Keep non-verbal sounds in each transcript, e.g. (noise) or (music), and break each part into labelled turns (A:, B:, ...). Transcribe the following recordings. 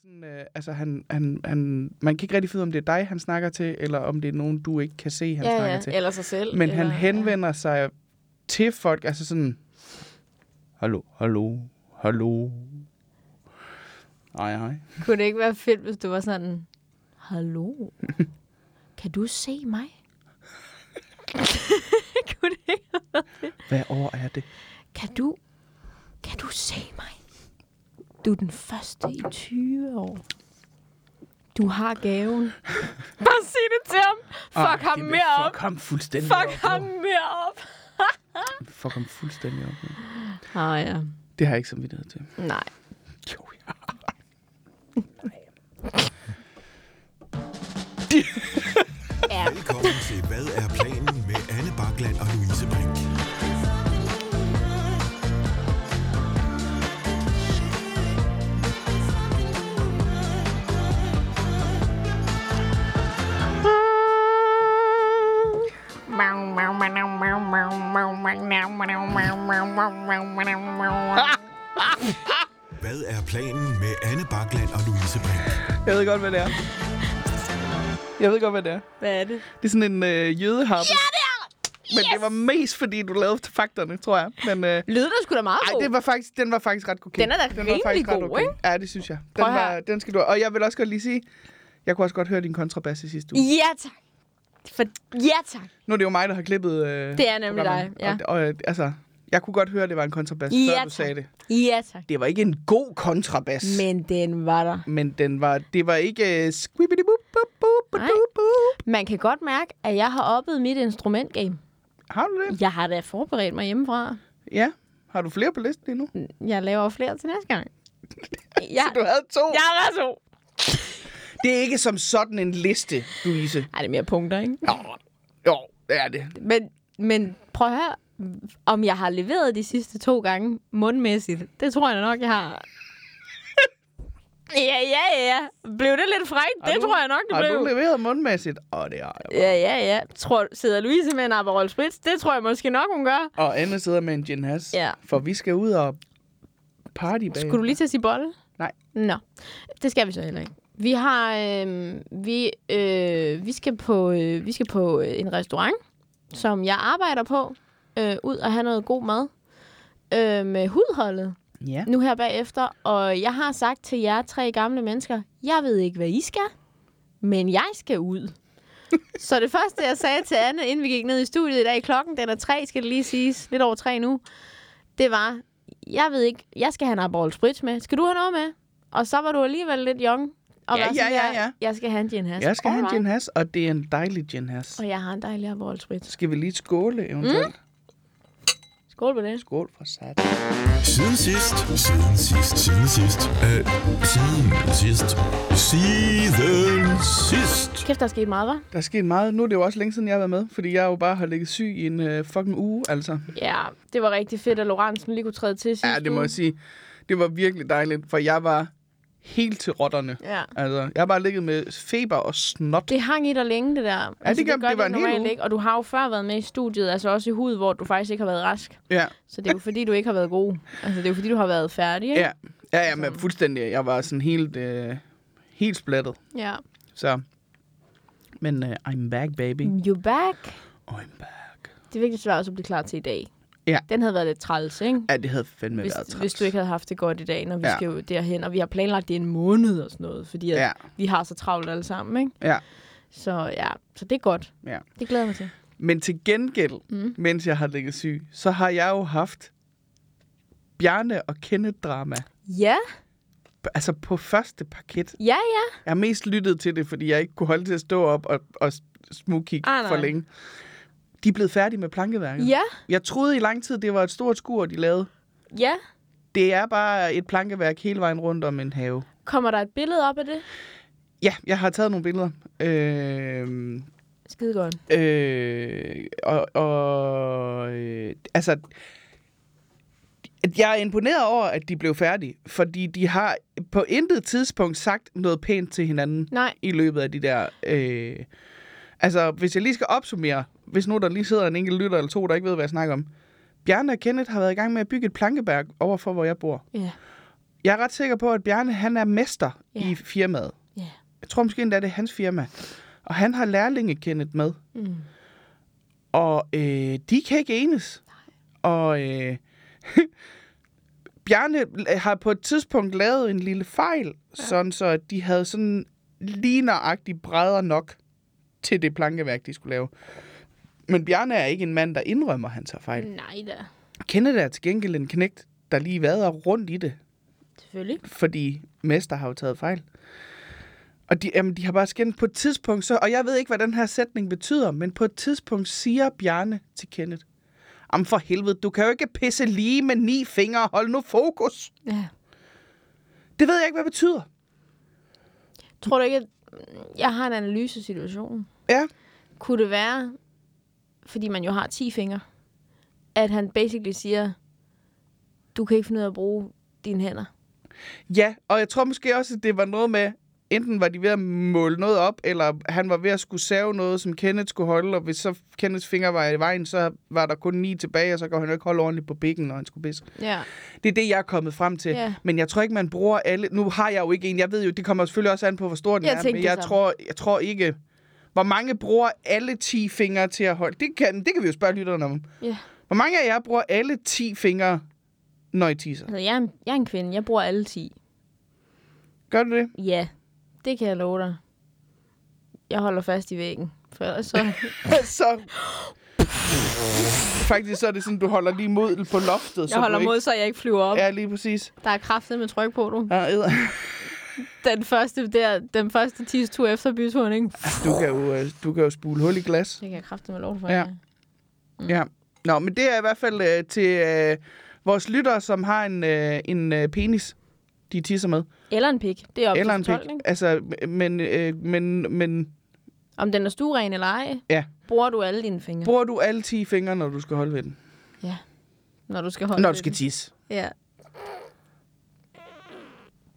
A: Sådan, øh, altså han, han, han, man kan ikke rigtig finde ud af, om det er dig, han snakker til, eller om det er nogen, du ikke kan se, han
B: ja,
A: snakker
B: ja,
A: til.
B: eller sig selv.
A: Men
B: eller,
A: han henvender sig til folk, altså sådan, hallo, hallo, hallo, hej, hej.
B: Ja. Kunne det ikke være fedt, hvis du var sådan, hallo, kan du se mig? Kunne det ikke?
A: Hvad år er det?
B: Kan du, kan du se mig? Du er den første i 20 år. Du har gaven. (laughs) Bare sig det til ham. Fuck
A: Ah,
B: ham
A: det vil-
B: mere op.
A: Fuck ham fuldstændig
B: Fuck
A: op.
B: ham mere op.
A: Fuck ham fuldstændig op. ja.
B: Ah ja.
A: Det har jeg ikke samvittighed til.
B: Nej.
A: Jo, ja.
C: Velkommen til Hvad er planen med Anne Bakland og Louise Brink. Hvad er planen med Anne Bakland og Louise Brink?
A: Jeg ved godt, hvad det er. Jeg ved godt, hvad det er.
B: Hvad er det?
A: Det er sådan en øh, jødeharpe. Ja, det er! Men yes! det var mest, fordi du lavede til fakterne, tror jeg. Men, øh,
B: Lyder da sgu da meget
A: ej, det var faktisk, den var faktisk ret okay.
B: Den er da rimelig
A: ret
B: god,
A: okay.
B: ikke?
A: Ja, det synes jeg. Den,
B: Prøv her.
A: var, den skal du... Og jeg vil også godt lige sige, jeg kunne også godt høre din kontrabas i sidste uge.
B: Ja tak. For, ja tak.
A: Nu er det jo mig, der har klippet... Øh,
B: Det er nemlig
A: programmet.
B: dig, ja.
A: Og, og, øh, altså, jeg kunne godt høre, at det var en kontrabas,
B: Ja,
A: før du
B: tak.
A: sagde det.
B: Ja tak.
A: Det var ikke en god kontrabas.
B: Men den var der.
A: Men den var, det var ikke... Øh, squibbidi boop, boop, boop,
B: Nej.
A: boop, boop.
B: Man kan godt mærke, at jeg har oppet mit instrumentgame.
A: Har du det?
B: Jeg har da forberedt mig hjemmefra.
A: Ja. Har du flere på listen lige nu?
B: Jeg laver flere til næste
A: (laughs)
B: gang. Jeg,
A: Så du havde to.
B: jeg var så.
A: Det er ikke som sådan en liste, Louise.
B: Ej, det er mere punkter, ikke?
A: Jo, jo det er det.
B: Men, men prøv at høre, om jeg har leveret de sidste to gange mundmæssigt. Det tror jeg nok, jeg har. (laughs) Ja, ja, ja. Blev det lidt frækt?
A: Har
B: Det
A: du-
B: tror jeg nok, det
A: Har
B: blev.
A: du leveret mundmæssigt? Åh, det har jeg.
B: Ja, ja, ja. Tror, sidder Louise med en Aperol Spritz? Det tror jeg måske nok, hun gør.
A: Og Anne sidder med en gin has.
B: Ja.
A: For vi skal ud og party bag.
B: Skulle du lige til at sige bolle?
A: Nej.
B: Nå, det skal vi så heller ikke. Vi har, øh, vi, øh, vi skal på, øh, vi skal på øh, en restaurant, som jeg arbejder på, øh, ud og have noget god mad øh, med hudholdet
A: Ja.
B: nu her bagefter. Og jeg har sagt til jer tre gamle mennesker, jeg ved ikke, hvad I skal, men jeg skal
A: (laughs)
B: ud. så det første, jeg sagde til Anne, inden vi gik ned i studiet i dag, klokken den er tre, skal det lige siges, lidt over tre nu, det var, jeg ved ikke, jeg skal have en Aperol Spritz med. Skal du have noget med? Og så var du alligevel lidt young. Og
A: Ja,
B: var
A: ja,
B: sådan
A: ja,
B: der,
A: ja.
B: Jeg skal have en gin has.
A: Jeg skal have en
B: Alright.
A: gin has, og det er en dejlig gin has.
B: Og jeg har en dejlig Aperol Spritz.
A: Skal vi lige skåle eventuelt? Mm.
B: Skål på det.
A: Skål for sat.
C: Siden sidst, siden sidst, siden sidst, øh, siden sidst, siden sidst.
B: Kæft, der er sket meget, hva'?
A: Der er sket meget. Nu er det jo også længe siden, jeg har været med, fordi jeg jo bare har ligget syg i en øh, fucking uge, altså.
B: Ja, det var rigtig fedt, at Lorentzen lige kunne træde til sidst.
A: Ja, det må jeg sige. Det var virkelig dejligt, for jeg var helt til rotterne.
B: Ja.
A: Altså, jeg har bare ligget med feber og snot.
B: Det hang i dig længe, det der. Ja,
A: det gør- det var en hel uge.
B: ikke. Og du har jo før været med i studiet, altså også i hud, hvor du faktisk ikke har været rask.
A: Ja,
B: Så det er jo fordi, du ikke har været god. Altså, det er jo fordi, du har været færdig, ikke?
A: ja. Ja, ja,
B: Altså-
A: men fuldstændig. Jeg var sådan helt, øh, helt splattet.
B: ja.
A: Så. Men øh, I'm back, baby. Oh,
B: You're back.
A: I'm back.
B: Det vigtigste var også at blive klar til i dag.
A: Ja.
B: Den havde været lidt træls, ikke?
A: Ja, det havde fandme
B: Hvis,
A: været træls.
B: hvis du ikke havde haft det godt i dag, når vi
A: Ja.
B: ja. skal jo derhen. Og vi har planlagt det i en måned og sådan noget, fordi at
A: Ja.
B: ja. vi har så travlt alle sammen, ikke?
A: Ja,
B: Så ja, så det er godt.
A: ja.
B: Det glæder jeg mig til.
A: Men til gengæld, mm. mens jeg har ligget syg, så har jeg jo haft Bjarne og Kenneth-drama.
B: Ja,
A: Altså på første paket.
B: ja, ja.
A: Jeg har mest lyttet til det, fordi jeg ikke kunne holde til at stå op og, og smugkigge
B: Ah, nej.
A: for længe. De er blevet færdige med plankeværket.
B: Ja,
A: Jeg troede i lang tid, det var et stort skur, de lavede.
B: ja.
A: Det er bare et plankeværk hele vejen rundt om en have.
B: Kommer der et billede op af det?
A: Ja, jeg har taget nogle billeder. Øh,
B: Skide godt.
A: øh, og, og øh, altså, jeg er imponeret over, at de blev færdige, fordi de har på intet tidspunkt sagt noget pænt til hinanden.
B: Nej.
A: i løbet af de der... Øh, altså, hvis jeg lige skal opsummere, hvis nu der lige sidder en enkelt lytter eller to, der ikke ved, hvad jeg snakker om. Bjarne og Kenneth har været i gang med at bygge et plankeværk overfor, hvor jeg bor.
B: Ja.
A: Jeg er ret sikker på, at Bjarne han er mester
B: Ja.
A: i firmaet.
B: Ja.
A: Jeg tror måske endda, det er hans firma. Og han har lærlinge Kenneth med. Mm. Og øh, de kan ikke enes. Nej. Og øh, (laughs) Bjarne øh, har på et tidspunkt lavet en lille fejl, ja. sådan så at de havde sådan ligneragtige brædder nok til det plankeværk, de skulle lave. Men Bjarne er ikke en mand, der indrømmer, han tager fejl. Mm.
B: Nej da.
A: Kenneth er til gengæld en knægt, der lige vader rundt i det
B: Selvfølgelig.
A: fordi Mester har jo taget fejl. Og de, jamen, de har bare skændt på et tidspunkt, så, og jeg ved ikke, hvad den her sætning betyder, men på et tidspunkt siger Bjarne til Kenneth, Jamen for helvede, du kan jo ikke pisse lige med ni fingre, hold nu fokus.
B: Ja.
A: Det ved jeg ikke, hvad det betyder.
B: Tror du ikke, at jeg har en analyse af situationen?
A: Ja,
B: Kunne det være, fordi man jo har 10 fingre, at han basically siger, du kan ikke finde ud af at bruge dine hænder?
A: ja, og jeg tror måske også, at det var noget med, enten var de ved at måle noget op, eller han var ved at skulle save noget, som Kenneth skulle holde, og hvis så Kenneths finger var i vejen, så var der kun ni tilbage, og så kunne han jo ikke holde ordentligt på bækken, når han skulle pisse.
B: Ja.
A: Det er det, jeg er kommet frem til.
B: Ja.
A: Men jeg tror ikke, man bruger alle... Nu har jeg jo ikke en. Jeg ved jo, det kommer selvfølgelig også an på, hvor stor den
B: Jeg
A: er.
B: tænkte
A: Men
B: det
A: jeg
B: samme.
A: tror, jeg tror ikke... Hvor mange bruger alle 10 fingre til at holde... Det kan, det kan vi jo spørge lytterne om.
B: ja.
A: Hvor mange af jer bruger alle 10 fingre, når I tisser?
B: Altså, jeg er, en, jeg er en kvinde. Jeg bruger alle 10.
A: Gør du det?
B: Ja, det kan jeg love dig. Jeg holder fast i væggen, for ellers så...
A: så... Faktisk så er det sådan, du holder lige mod på loftet. (laughs) så
B: jeg
A: du
B: holder
A: ikke...
B: mod, så jeg ikke flyver op. Ja.
A: Ja, lige præcis.
B: Der er kraftet med tryk på, du.
A: Ja, edder.
B: Den første, der, den første tistur efter byturen, ikke?
A: Du kan, jo, øh, du kan jo spule hul i glas.
B: Det kan jeg kraftet med lov for.
A: Ja.
B: Ja.
A: Ja. Nå, men det er i hvert fald øh, til øh, vores lyttere, som har en, øh, en øh, penis, de tisser med.
B: Eller en pik. Det er op
A: Eller
B: Eller
A: en
B: til fortolkning.
A: pik. Altså, men, øh, men, men
B: Om den er stueren eller ej,
A: ja.
B: bruger du alle dine fingre,
A: Bruger du alle 10 fingre, når du skal holde ved den?
B: når du skal holde
A: Når
B: ved
A: du skal
B: den.
A: tisse.
B: Ja.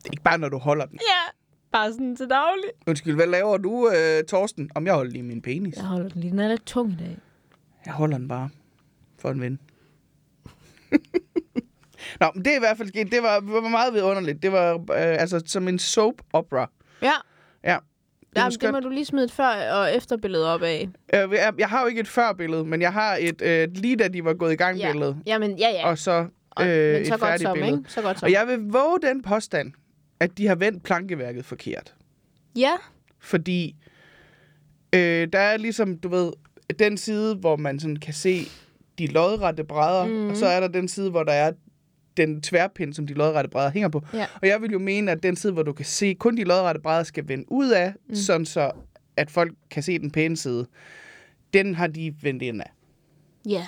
A: Det er Ikke bare, når du holder den.
B: ja, bare sådan til daglig.
A: Undskyld, hvad laver du, øh, Torsten? Om jeg holder lige min penis.
B: Jeg holder den lige. Den er lidt tung i dag.
A: Jeg holder den bare for en ven. (laughs) Nå, men det er i hvert fald sket. Det var, var meget vidunderligt. Det var øh, altså som en soap opera.
B: Ja,
A: Ja.
B: det,
A: var
B: Jamen, det
A: skønt.
B: må du lige smide et før- og efterbillede op af.
A: Øh, jeg- jeg har jo ikke et før-billede, men jeg har et øh, lige da de var gået i gang
B: Ja.
A: billede,
B: Jamen, ja, ja.
A: og så, øh,
B: Og, men
A: et
B: så godt
A: færdigt
B: som,
A: billede.
B: ikke? Så godt som.
A: Og jeg vil våge den påstand, at de har vendt plankeværket forkert.
B: Ja,
A: Fordi øh, der er ligesom, du ved, den side, hvor man sådan kan se de lodrette brædder, mm. og så er der den side, hvor der er den tværpind, som de lodrette brædder hænger på.
B: Ja.
A: Og jeg vil jo mene, at den side, hvor du kan se, kun de lodrette brædder skal vende ud af, mm. sådan så, at folk kan se den pæne side. Den har de vendt ind af.
B: ja.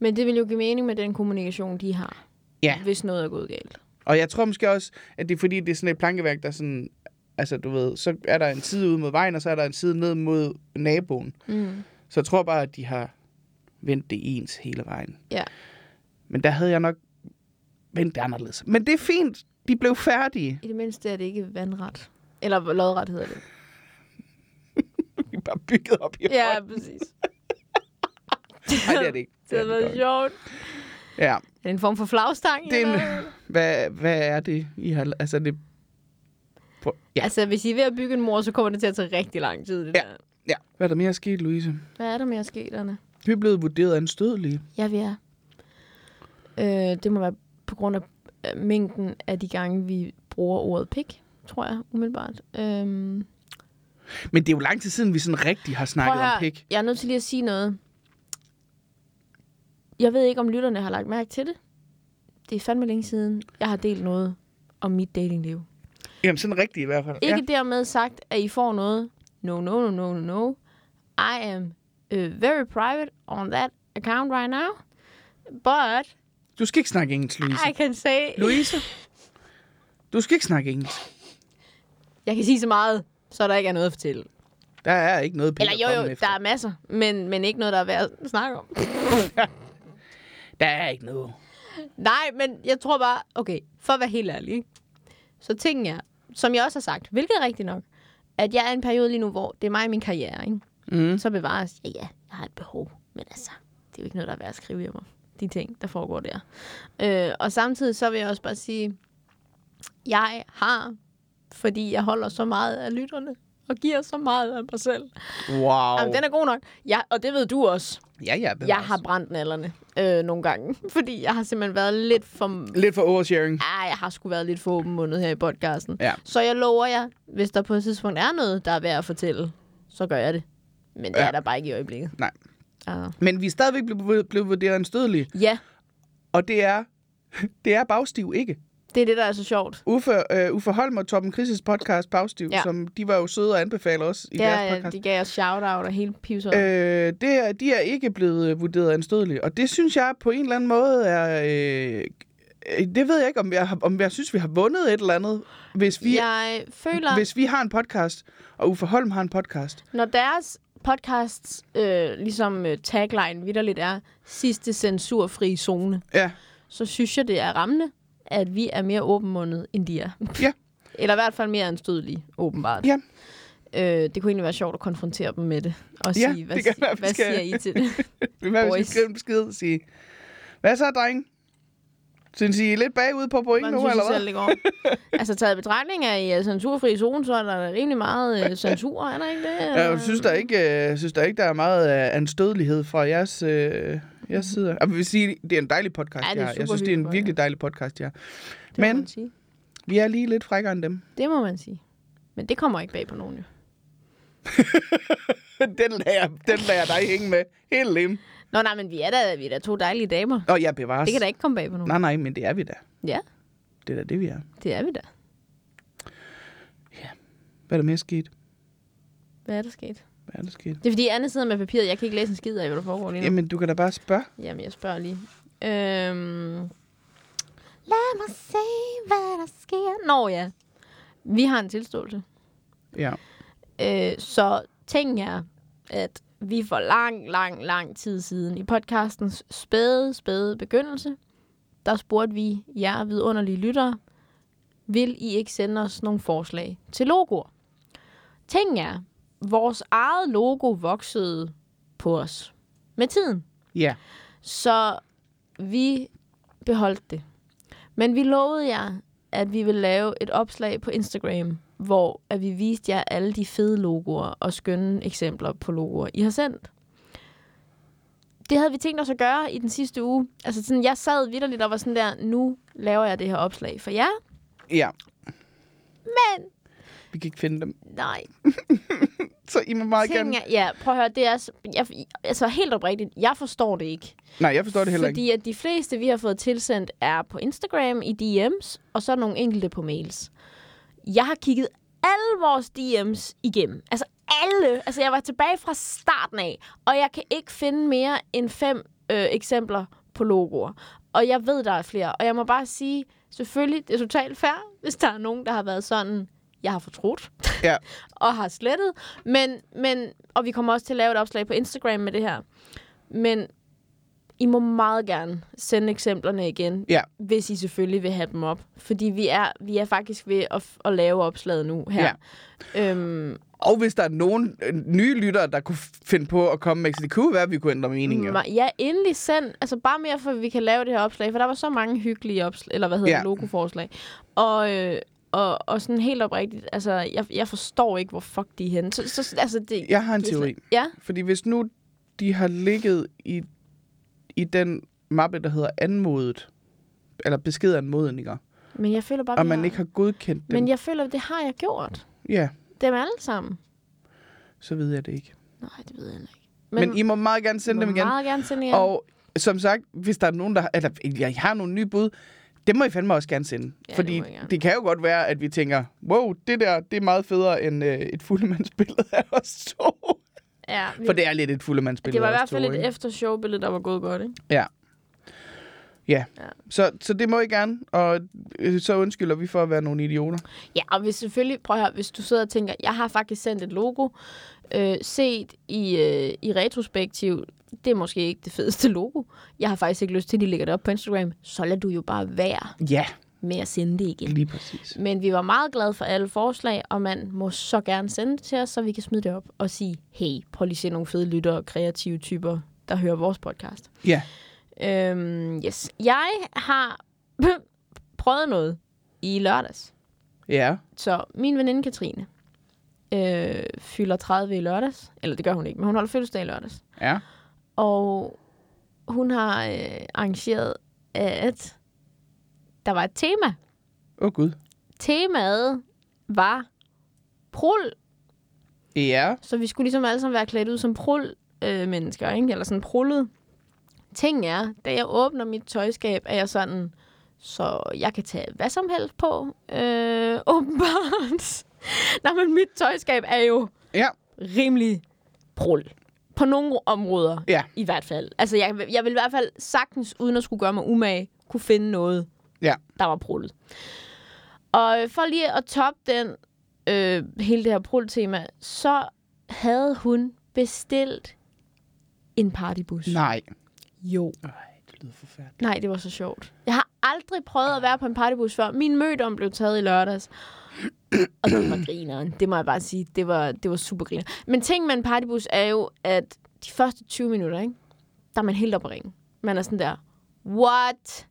B: Men det vil jo give mening med den kommunikation, de har,
A: Ja.
B: hvis noget er gået galt.
A: Og jeg tror måske også, at det er fordi, det er sådan et plankeværk, der sådan... Altså, du ved, så er der en side ud mod vejen, og så er der en side ned mod naboen.
B: Mm.
A: Så jeg tror bare, at de har vendt det ens hele vejen.
B: Ja.
A: Men der havde jeg nok vendt det anderledes. Men det er fint. De blev færdige. (laughs)
B: I det mindste er det ikke vandret. Eller lodret hedder det.
A: De er bare bygget op i
B: (laughs) Ja, præcis.
A: Nej, det er det ikke.
B: (laughs) Det
A: er
B: har
A: det
B: været
A: dog ikke.
B: sjovt.
A: Ja.
B: Er det en form for flagstang?
A: Det er
B: eller
A: en, hvad, hvad er det, I har... Altså, det... På, ja.
B: Altså, hvis I er ved at bygge en mor, så kommer det til at tage rigtig lang tid, det
A: Ja.
B: der.
A: ja. Hvad er der mere sket, Louise?
B: Hvad er der med askelerne?
A: Vi er blevet vurderet anstødelige.
B: Ja, vi er. Øh, det må være på grund af øh, mængden af de gange, vi bruger ordet pik, tror jeg, umiddelbart. Øhm,
A: Men det er jo lang tid siden, vi sådan rigtig har snakket
B: prøv at
A: om
B: høre,
A: pik.
B: Jeg er nødt til lige at sige noget. Jeg ved ikke, om lytterne har lagt mærke til det. Det er fandme længe siden, jeg har delt noget om mit datingliv.
A: Jamen, sådan rigtigt i hvert fald.
B: Ikke ja. dermed sagt, at I får noget. No, no, no, no, no, no. I am uh, very private on that account right now. But
A: Du skal ikke snakke engelsk, Louise.
B: I can say...
A: Louise, du skal ikke snakke engelsk.
B: (laughs) Jeg kan sige så meget, så der ikke er noget at fortælle.
A: Der er ikke noget pik
B: Eller
A: at
B: jo,
A: komme
B: jo,
A: efter.
B: der er masser, men, men ikke noget, der er værd at snakke om.
A: der er ikke noget.
B: Nej, men jeg tror bare, okay, for at være helt ærlig, ikke? så tingen er, som jeg også har sagt, hvilket er rigtigt nok, at jeg er i en periode lige nu, hvor det er mig og min karriere, ikke? Mm. så bevares, ja, ja, jeg har et behov, men altså, det er jo ikke noget, der er værd at skrive i mig, de ting, der foregår der. Øh, og samtidig så vil jeg også bare sige, Jeg har, fordi jeg holder så meget af lytterne og giver så meget af mig selv.
A: Wow.
B: Jamen, den er god nok. Jeg, og det ved du også.
A: Ja, ja. den er
B: Jeg
A: også-
B: har brændt nallerne øh, nogle gange, (laughs) fordi jeg har simpelthen været lidt for
A: Lidt for oversharing.
B: Ah, jeg har sgu været lidt for åben mundet her i podcasten.
A: Ja.
B: Så jeg lover jer, hvis der på et tidspunkt er noget, der er værd at fortælle, så gør jeg det. Men det
A: Ja.
B: er der bare ikke i øjeblikket.
A: Nej.
B: Altså.
A: Men vi er stadigvæk blevet, blevet vurderet anstødelige,
B: Ja,
A: og det er, (laughs) det er bagstiv ikke.
B: det er det, der er så sjovt.
A: Uffe, øh, Uffe Holm og Torben Krisis podcast Bagstiv, ja.
B: Ja,
A: som de var jo søde og anbefaler os i deres
B: Ja,
A: podcast.
B: de gav os shout-out og hele pivsøjet. Øh.
A: Øh, det er, de er ikke blevet øh, vurderet anstødelige, og det synes jeg på en eller anden måde er... Øh, øh, det ved jeg ikke, om jeg, har- om jeg synes, vi har vundet et eller andet, hvis vi,
B: Jeg føler, hvis...
A: hvis vi har en podcast, og Uffe Holm har en podcast.
B: når deres podcasts øh, ligesom øh, tagline vidderligt er sidste censurfri zone,
A: Ja,
B: så synes jeg, det er rammende, at vi er mere åbenmundet, end de er.
A: Ja.
B: (laughs) Eller i hvert fald mere anstødelige, åbenbart.
A: Ja.
B: Øh, det kunne egentlig være sjovt at konfrontere dem med det. Og
A: Ja,
B: sige, hvad,
A: det kan
B: sig-
A: være, vi
B: hvad
A: skal."
B: siger I
A: (laughs)
B: til det?
A: det er vi skal
B: Boys.
A: skrive en besked og sige, hvad så, dreng? Synes I er lidt bagud på point
B: Man
A: nu,
B: synes
A: eller
B: I selv,
A: hvad?
B: det går.
A: (laughs)
B: altså taget i betragtning af i censurfri zone, så er der rimelig meget øh, censur, er der ikke det?
A: Ja, Jeg synes der ikke, øh, synes der ikke der er meget øh, anstødelighed fra jeres, øh, jeres side. Jeg vil sige, det er en dejlig podcast,
B: Mhm. Ja, det er
A: de har. Jeg
B: super
A: synes, det er en
B: hyggelig
A: virkelig dejlig podcast, ja.
B: det må man
A: Men
B: sige.
A: vi er lige lidt frækkere end dem.
B: Det må man sige. Men det kommer ikke bag på nogen, jo.
A: (laughs) den, lader, den lader jeg dig hænge med. Helt lem.
B: Nå, nej, men vi er da, vi er da to dejlige damer.
A: Og jeg bevares.
B: Det kan da ikke komme bag på nogen.
A: Nej, nej, men det er vi da.
B: Ja,
A: Det er da det, vi er.
B: det er vi da.
A: Hvad er der mere sket?
B: Hvad er der sket?
A: Hvad er der sket?
B: Det er fordi, Anne sidder med papiret. Jeg kan ikke læse en skid af, hvad der foregår lige nu.
A: Jamen, du kan da bare spørge.
B: Jamen, jeg spørger lige. Øhm... Lad mig se, hvad der sker. Nå ja, vi har en tilståelse.
A: Ja.
B: Øh, så ting er, at vi for lang, lang, lang tid siden i podcastens spæde, spæde begyndelse, der spurgte vi jer vidunderlige lyttere, vil I ikke sende os nogle forslag til logoer? Ting er, vores eget logo voksede på os med tiden.
A: Ja.
B: Så vi beholdt det. Men vi lovede jer, at vi ville lave et opslag på Instagram, hvor at vi viste jer alle de fede logoer og skønne eksempler på logoer, I har sendt. Det havde vi tænkt os at gøre i den sidste uge. Altså sådan, jeg sad vidderligt og var sådan der, nu laver jeg det her opslag for jer.
A: Ja.
B: Men,
A: Vi kan ikke finde dem.
B: nej,
A: Så I må meget
B: ting
A: gerne...
B: er, ja, prøv at høre, det er, s- jeg, altså helt oprigtigt, jeg forstår det ikke.
A: Nej, jeg forstår det heller ikke.
B: Fordi at de fleste, vi har fået tilsendt, er på Instagram i DM's, og så nogle enkelte på mails. Jeg har kigget alle vores DM's igennem. Altså alle. Altså jeg var tilbage fra starten af, og jeg kan ikke finde mere end fem øh, eksempler på logoer. Og jeg ved, der er flere. Og jeg må bare sige, selvfølgelig, det er totalt fair, hvis der er nogen, der har været sådan, jeg har fortrudt
A: Ja.
B: og har slettet. Men, men, og vi kommer også til at lave et opslag på Instagram med det her. Men I må meget gerne sende eksemplerne igen,
A: Ja.
B: hvis I selvfølgelig vil have dem op. Fordi vi er, vi er faktisk ved at, f- at lave opslaget nu her. Ja. Øhm,
A: Og hvis der er nogen øh, nye lyttere, der kunne finde på at komme med, så det kunne jo være, at vi kunne ændre mening. Jo.
B: ma- ja, endelig send. Altså bare mere, for at vi kan lave det her opslag. For der var så mange hyggelige opslag, eller hvad hedder
A: Ja.
B: ja. logoforslag. Og, øh, og, og sådan helt oprigtigt, altså jeg, jeg forstår ikke, hvor fuck de er henne. Så, så, altså, det,
A: Jeg har en
B: det er slet-
A: teori.
B: Ja,
A: Fordi hvis nu de har ligget i, i den mappe, der hedder anmodet, eller besked af anmodninger,
B: men jeg føler bare,
A: og
B: vi
A: man
B: har-
A: ikke har godkendt dem,
B: Men jeg føler, at det har jeg gjort.
A: ja,
B: Dem alle sammen.
A: så ved jeg det ikke.
B: Nej, det ved jeg heller ikke.
A: Men, Men I må meget gerne sende
B: må
A: dem igen.
B: meget gerne sende igen.
A: Og som sagt, hvis der er nogen, der... Eller, jeg har nogle nye bud. Det må I fandme også gerne sende.
B: Ja, det
A: Fordi
B: må I gerne.
A: det kan jo godt være, at vi tænker, wow, det der, det er meget federe end øh, et fuldemandsbillede af os to.
B: ja, vi,
A: For det er lidt et fuldemandsbillede
B: det var i
A: af os
B: hvert fald
A: to,
B: et
A: ikke?
B: eftershowbillede, der var gået godt, ikke?
A: Ja. Ja.
B: Ja.
A: Så, så det må I gerne, og øh, så undskylder vi for at være nogle idioter.
B: Ja, og hvis selvfølgelig, prøv at høre, hvis du sidder og tænker, jeg har faktisk sendt et logo, øh, set i, øh, i retrospektiv, det er måske ikke det fedeste logo. Jeg har faktisk ikke lyst til, at de lægger det op på Instagram. Så lad du jo bare være
A: Ja,
B: med at sende det igen.
A: lige præcis.
B: Men vi var meget glade for alle forslag, og man må så gerne sende det til os, så vi kan smide det op og sige, hey, prøv lige at se nogle fede lyttere og kreative typer, der hører vores podcast.
A: Ja.
B: Øhm, yes. Jeg har (laughs) prøvet noget i lørdags.
A: Ja.
B: Så min veninde Katrine øh, fylder 30 i lørdags. Eller det gør hun ikke, men hun holder fødselsdag i lørdags.
A: Ja.
B: Og hun har øh, arrangeret, at der var et tema.
A: Åh, oh, Gud.
B: Temaet var prul,
A: Ja.
B: så vi skulle ligesom alle sammen være klædt ud som prul-mennesker, ikke? Eller sådan prullet. Ting er, da jeg åbner mit tøjskab, er jeg sådan, så jeg kan tage hvad som helst på, øh, (laughs) åbenbart. Nej, men mit tøjskab er jo
A: Ja.
B: rimelig prul. På nogle områder,
A: Ja.
B: i hvert fald. Altså, jeg, jeg vil i hvert fald sagtens, uden at skulle gøre mig umage, kunne finde noget,
A: Ja.
B: der var prullet. Og øh, for lige at toppe den, øh, hele det her prul-tema, så havde hun bestilt en partybus.
A: Nej.
B: Jo.
A: Nej, det lyder forfærdeligt.
B: Nej, det var så sjovt. Jeg har aldrig prøvet at være på en partybus før. Min mødom blev taget i lørdags. Og det var grineren. Det må jeg bare sige. Det var, det var super griner. Men ting med en partybus er jo, at de første 20 minutter, ikke? der er man helt oppe at ringe. Man er sådan der, what?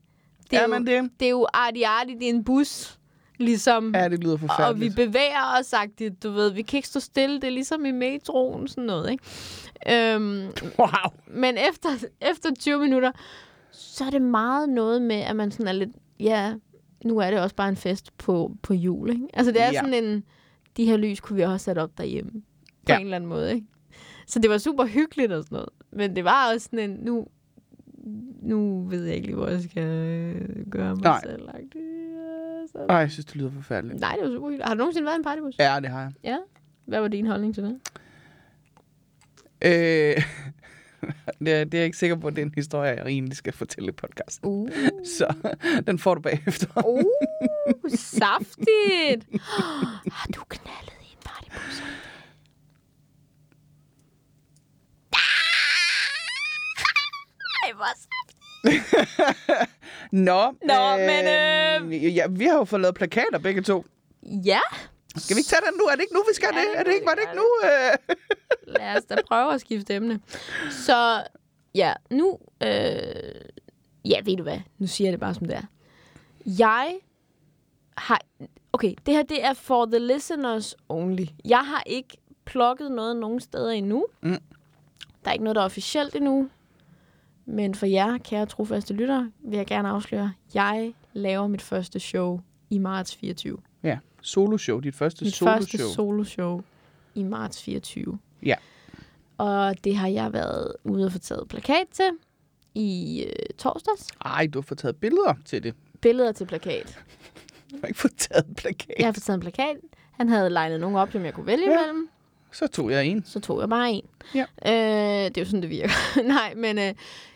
B: Det er,
A: Er man
B: jo,
A: det?
B: det er jo arti-arti, det er en bus. Ligesom,
A: Ja, det lyder
B: og vi
A: forfærdeligt.
B: bevæger os sagt, du ved, vi kan ikke stå stille, det er ligesom i metroen, sådan noget, ikke? Øhm,
A: Wow.
B: men efter, efter 20 minutter, så er det meget noget med, at man sådan er lidt, ja, nu er det også bare en fest på, på jul, ikke? Altså det er
A: Ja.
B: ja. sådan en, de her lys kunne vi også have sat op derhjemme, på
A: Ja.
B: ja. en eller anden måde, ikke? Så det var super hyggeligt og sådan noget, men det var også sådan en, nu, nu ved jeg ikke lige, hvor jeg skal øh, gøre mig
A: Nej.
B: Nej. selv. agtig, ja, så-
A: Ej, jeg synes, det lyder forfærdeligt.
B: Nej, det var super hyggeligt. Har du nogensinde været i en partybus?
A: Ja, det har jeg.
B: Ja. Hvad var din holdning til det?
A: Øh, (laughs) det, er, det er jeg ikke sikker på, at det er en historie, jeg egentlig skal fortælle i podcasten.
B: Uh.
A: Så (laughs) den får du bagefter.
B: Uh, saftigt. (gasps) Har du knaldet i en partybus? Ah! (laughs) Ej, hvor saftigt.
A: Nå, øh,
B: Nå, men, øh,
A: Ja, vi har jo fået lavet plakater begge to.
B: Ja,
A: Skal vi ikke tage den nu? Er det ikke nu, vi skal
B: Ja,
A: det?
B: det
A: Er det
B: må
A: ikke,
B: vi
A: var det ikke nu?
B: gøre
A: Øh, (laughs)
B: lad os da prøve at skifte emne. Så ja, nu... Øh, ja, ved du hvad? Nu siger jeg det bare, som det er. Jeg har... Okay, det her det er for the listeners only. Jeg har ikke plukket noget nogen steder endnu.
A: Mm.
B: Der er ikke noget, der er officielt endnu. Men for jer, kære trofaste lyttere, vil jeg gerne afsløre, jeg laver mit første show i marts 24.
A: Ja, soloshow. Dit første
B: Mit første
A: soloshow.
B: soloshow i marts 24.
A: Ja.
B: Og det har jeg været ude og få taget plakat til i øh, torsdags.
A: Ej, du har fået taget billeder til det.
B: Billeder til plakat.
A: Du har ikke fået taget en plakat.
B: Jeg har fået taget en plakat. Han havde legnet nogle op, som jeg kunne vælge
A: Ja.
B: ja. imellem.
A: Så tog jeg en.
B: Så tog jeg bare en.
A: Ja.
B: Øh, det er jo sådan, det virker. (laughs) Nej, men øh,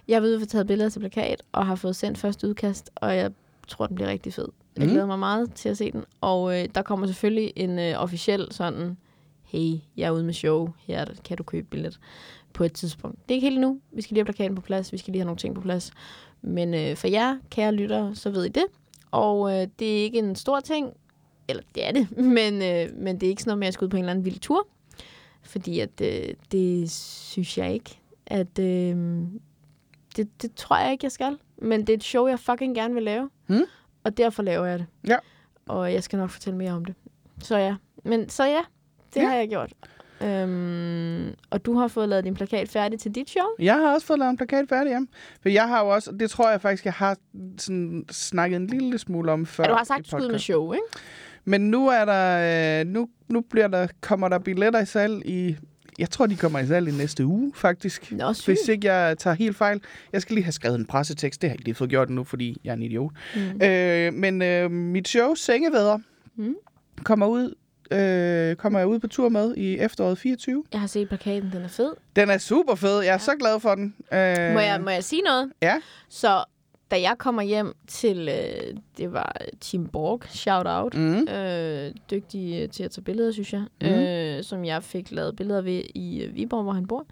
B: jeg har været ude og få taget billeder til plakat, og har fået sendt første udkast, og jeg tror, den bliver rigtig fed. Jeg
A: Mm.
B: glæder mig meget til at se den. Og øh, der kommer selvfølgelig en øh, officiel sådan, hey, jeg er ude med show, her er det. kan du købe billet på et tidspunkt. Det er ikke helt nu. Vi skal lige have plakaten på plads, vi skal lige have nogle ting på plads. Men øh, for jer, kære lyttere, så ved I det. Og øh, det er ikke en stor ting, eller det er det, (laughs) men, øh, men det er ikke sådan noget med, at jeg skal ud på en eller anden vild tur. Fordi at, øh, det synes jeg ikke, at øh, det, det tror jeg ikke, jeg skal. Men det er et show, jeg fucking gerne vil lave.
A: Mm.
B: Og derfor laver jeg det.
A: Ja.
B: Og jeg skal nok fortælle mere om det. Så ja. Men så ja, det
A: Ja.
B: ja. har jeg gjort. Øhm, og du har fået lavet din plakat færdig til dit show.
A: Jeg har også fået lavet en plakat færdig, ja. For jeg har jo også, det tror jeg faktisk, jeg har sådan snakket en lille smule om før.
B: Ja, du har sagt,
A: i
B: du skulle ud med
A: podcast.
B: show, ikke?
A: Men nu er der, øh, nu, nu bliver der, kommer der billetter i salg i, jeg tror, de kommer i salg i næste uge, faktisk.
B: Nå, sygt.
A: Hvis ikke jeg tager helt fejl. Jeg skal lige have skrevet en pressetekst. Det har jeg ikke lige fået gjort nu, fordi jeg er en idiot. Mm. Øh, men øh, mit show, Sengevædder, mm.
B: Mm.
A: kommer ud øh, kommer jeg ud på tur med i efteråret 24.
B: Jeg har set plakaten, den er fed.
A: Den er super fed. Jeg er ja. så glad for den. Øh,
B: Må jeg, må jeg sige noget?
A: Ja.
B: Så da jeg kommer hjem til, øh, det var Tim Borg, shout out,
A: Mm.
B: øh, dygtig øh, til at tage billeder, synes jeg,
A: Mhm.
B: mm. øh, som jeg fik lavet billeder ved i øh, Viborg, hvor han bor,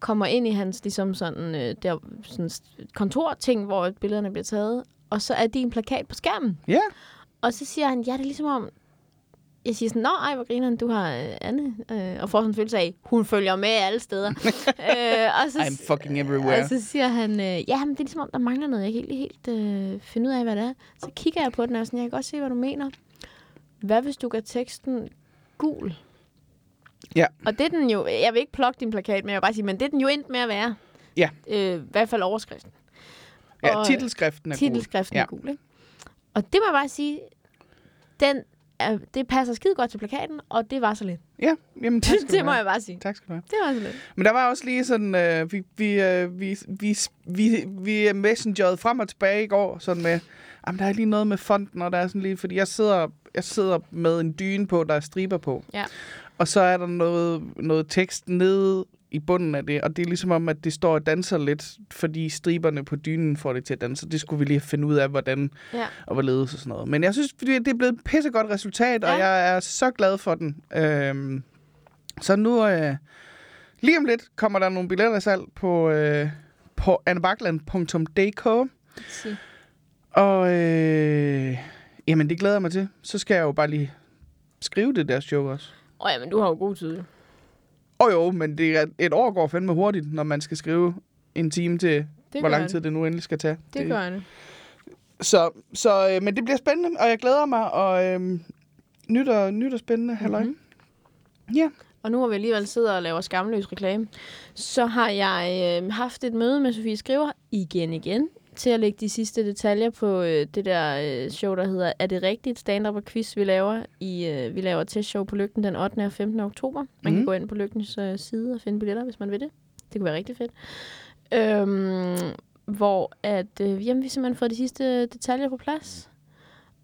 B: kommer ind i hans ligesom sådan, øh, der, sådan st- kontorting, hvor billederne bliver taget, og så er din plakat på skærmen.
A: Ja.
B: Og så siger han, ja, det er ligesom om, jeg siger sådan, nå, ej, hvor grineren, du har øh, Anne. Øh, og får sådan en følelse af, hun følger med alle
A: (laughs)
B: steder. øh, og så,
A: I'm fucking everywhere.
B: Og så siger han, øh, ja, men det er ligesom om, der mangler noget. Jeg kan ikke helt øh, finde ud af, hvad det er. Så kigger jeg på den og er sådan, jeg kan godt se, hvad du mener. Hvad hvis du gør teksten gul?
A: Ja.
B: Og det er den jo, jeg vil ikke plukke din plakat, men jeg vil bare sige, men det er den jo endt med at være.
A: Ja.
B: Øh, I hvert fald overskriften.
A: Ja,
B: og- øh,
A: titelskriften er
B: Titelskriften ja.
A: Ja.
B: er gul, ikke? Og det må jeg bare sige, den er, det passer skide godt til plakaten, og det var så lidt.
A: god. Ja, jamen tak
B: (laughs) Det,
A: skal
B: det
A: du
B: må
A: have.
B: jeg bare sige.
A: Tak skal du have.
B: Det var så lidt.
A: Men der var også lige sådan, øh, vi, vi, øh, vi, vi, vi, vi messengerede frem og tilbage i går, sådan med, jamen der er lige noget med fonden, og der er sådan lige, fordi jeg sidder, jeg sidder med en dyne på, der er striber på.
B: Ja.
A: Og så er der noget, noget tekst nede i bunden af det, og det er ligesom om, at det står og danser lidt, fordi striberne på dynen får det til at danse. Det skulle vi lige finde ud af, hvordan
B: Ja.
A: og hvorledes og sådan noget. Men jeg synes, fordi det er blevet et pissegodt resultat, ja. og
B: Ja.
A: jeg er så glad for den. Øhm, så nu, øh, lige om lidt, kommer der nogle billetter i salg på, øh, på annebakland.dk.
B: Sige.
A: Og øh, jamen, det glæder jeg mig til. Så skal jeg jo bare lige skrive det der show også.
B: Åh ja, men du har jo god tid. jo.
A: Åh oh, jo, men det er, et år går fandme hurtigt, når man skal skrive en time til,
B: Det
A: hvor
B: gør
A: lang tid
B: det.
A: det nu endelig skal tage.
B: Det gør det.
A: Så, så øh, men det bliver spændende, og jeg glæder mig, og øh, nyt og, nyt og spændende, halløj.
B: Mhm.
A: Mm-hmm. Ja.
B: Og nu hvor vi alligevel sidder og laver skamløs reklame, så har jeg øh, haft et møde med Sofie Skriver igen igen til at lægge de sidste detaljer på øh, det der øh, show, der hedder Er det rigtigt? Stand-up og quiz, vi laver. I, øh, vi laver testshow på Lygten den 8. og 15. oktober. Man
A: Mhm.
B: mm. kan gå ind på Lygtens øh, side og finde billetter, hvis man vil det. Det kunne være rigtig fedt. Øhm, hvor at, øh, jamen, vi simpelthen får de sidste detaljer på plads.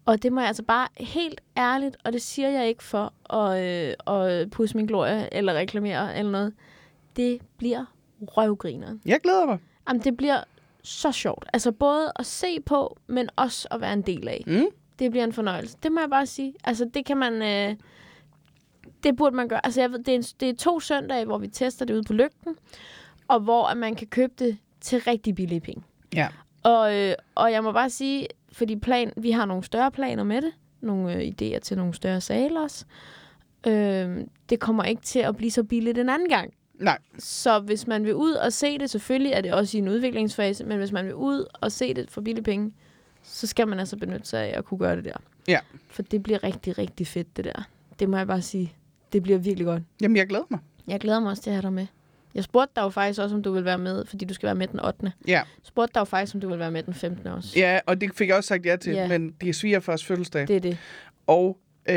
B: Og det må jeg altså bare helt ærligt, og det siger jeg ikke for at, øh, at pusse min glorie eller reklamere eller noget. Det bliver røvgriner.
A: Jeg glæder mig.
B: Jamen, det bliver så sjovt. Altså både at se på, men også at være en del af.
A: Mm.
B: Det bliver en fornøjelse. Det må jeg bare sige. Altså det kan man... Øh, det burde man gøre. Altså jeg ved, det, er en, det er to søndage, hvor vi tester det ude på lygten, og hvor at man kan købe det til rigtig billige penge.
A: Ja.
B: Og, øh, og jeg må bare sige, fordi plan, vi har nogle større planer med det. Nogle øh, idéer til nogle større saler også. Øh, det kommer ikke til at blive så billigt en anden gang.
A: Nej,
B: Så hvis man vil ud og se det, selvfølgelig er det også i en udviklingsfase, men hvis man vil ud og se det for billige penge, så skal man altså benytte sig af at kunne gøre det der.
A: Ja.
B: For det bliver rigtig, rigtig fedt, det der. Det må jeg bare sige. Det bliver virkelig godt.
A: jamen jeg glæder mig.
B: Jeg glæder mig også til at have dig med. Jeg spurgte dig jo faktisk også, om du vil være med, fordi du skal være med den 8. Jeg
A: Ja,
B: spurgte dig jo faktisk, om du vil være med den 15. også.
A: ja og det fik jeg også sagt ja til,
B: Ja.
A: men det er svigerfars fødselsdag.
B: Det er det.
A: Og øh,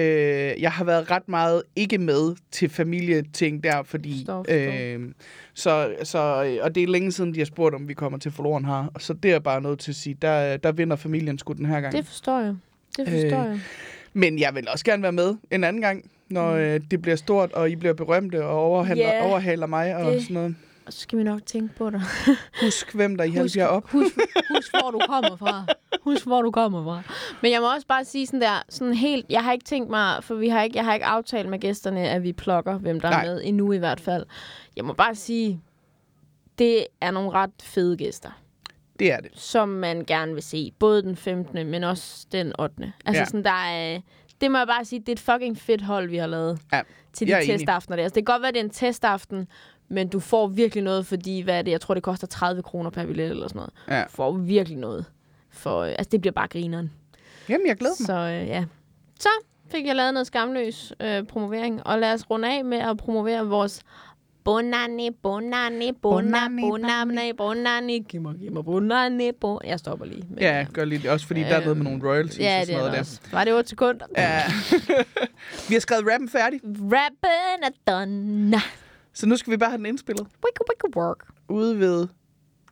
A: jeg har været ret meget ikke med til familieting der, fordi...
B: Forstår, forstår.
A: Øh, så, så, øh, og det er længe siden, de har spurgt, om vi kommer til forloren her. Så det er jeg bare nødt til at sige, der, der vinder familien sgu den her gang.
B: Det forstår jeg. Det forstår
A: Øh,
B: jeg.
A: Men jeg vil også gerne være med en anden gang, når øh, det bliver stort, og I bliver berømte og overhaler,
B: Mm. Ja,
A: yeah, overhaler mig og
B: det-
A: sådan noget.
B: Og så skal vi nok tænke på dig.
A: Husk, hvem der hjælper
B: Husk-
A: jer op.
B: Husk, husk, hvor du kommer fra. Husk, hvor du kommer fra. (laughs) Men jeg må også bare sige sådan der, sådan helt, jeg har ikke tænkt mig, for vi har ikke, jeg har ikke aftalt med gæsterne, at vi plukker, hvem der
A: Nej.
B: er med, endnu i hvert fald. Jeg må bare sige, det er nogle ret fede gæster,
A: Det er det.
B: som man gerne vil se. Både den 15., men også den 8. Altså
A: Ja.
B: ja. sådan, der er, det må jeg bare sige, det er et fucking fedt hold, vi har lavet
A: Ja,
B: til
A: jeg er
B: de
A: enig.
B: testaftener der. Altså, det kan godt være, at det er en testaften, men du får virkelig noget, fordi, hvad er det, jeg tror, det koster 30 kroner per billet eller sådan noget.
A: Ja.
B: Du får virkelig noget. For, øh, altså, det bliver bare grineren.
A: Hm. Jamen, jeg glæder mig.
B: Så øh, ja. Så fik jeg lavet noget skamløs øh, promovering, og lad os runde af med at promovere vores Bonani, bonani, bonani, bonani, bonani, giv mig, giv mig, bonani, bonani. Jeg stopper lige. med
A: Ja,
B: det her.
A: gør lige det. Også fordi der er noget med nogle royalties
B: ja,
A: og
B: det
A: sådan
B: er
A: noget
B: der
A: der.
B: også. Var det 8 sekunder?
A: Ja. vi har skrevet rappen færdig,
B: Rappen er done.
A: så nu skal vi bare have den indspillet
B: Wicka, wicka, work.
A: ude ved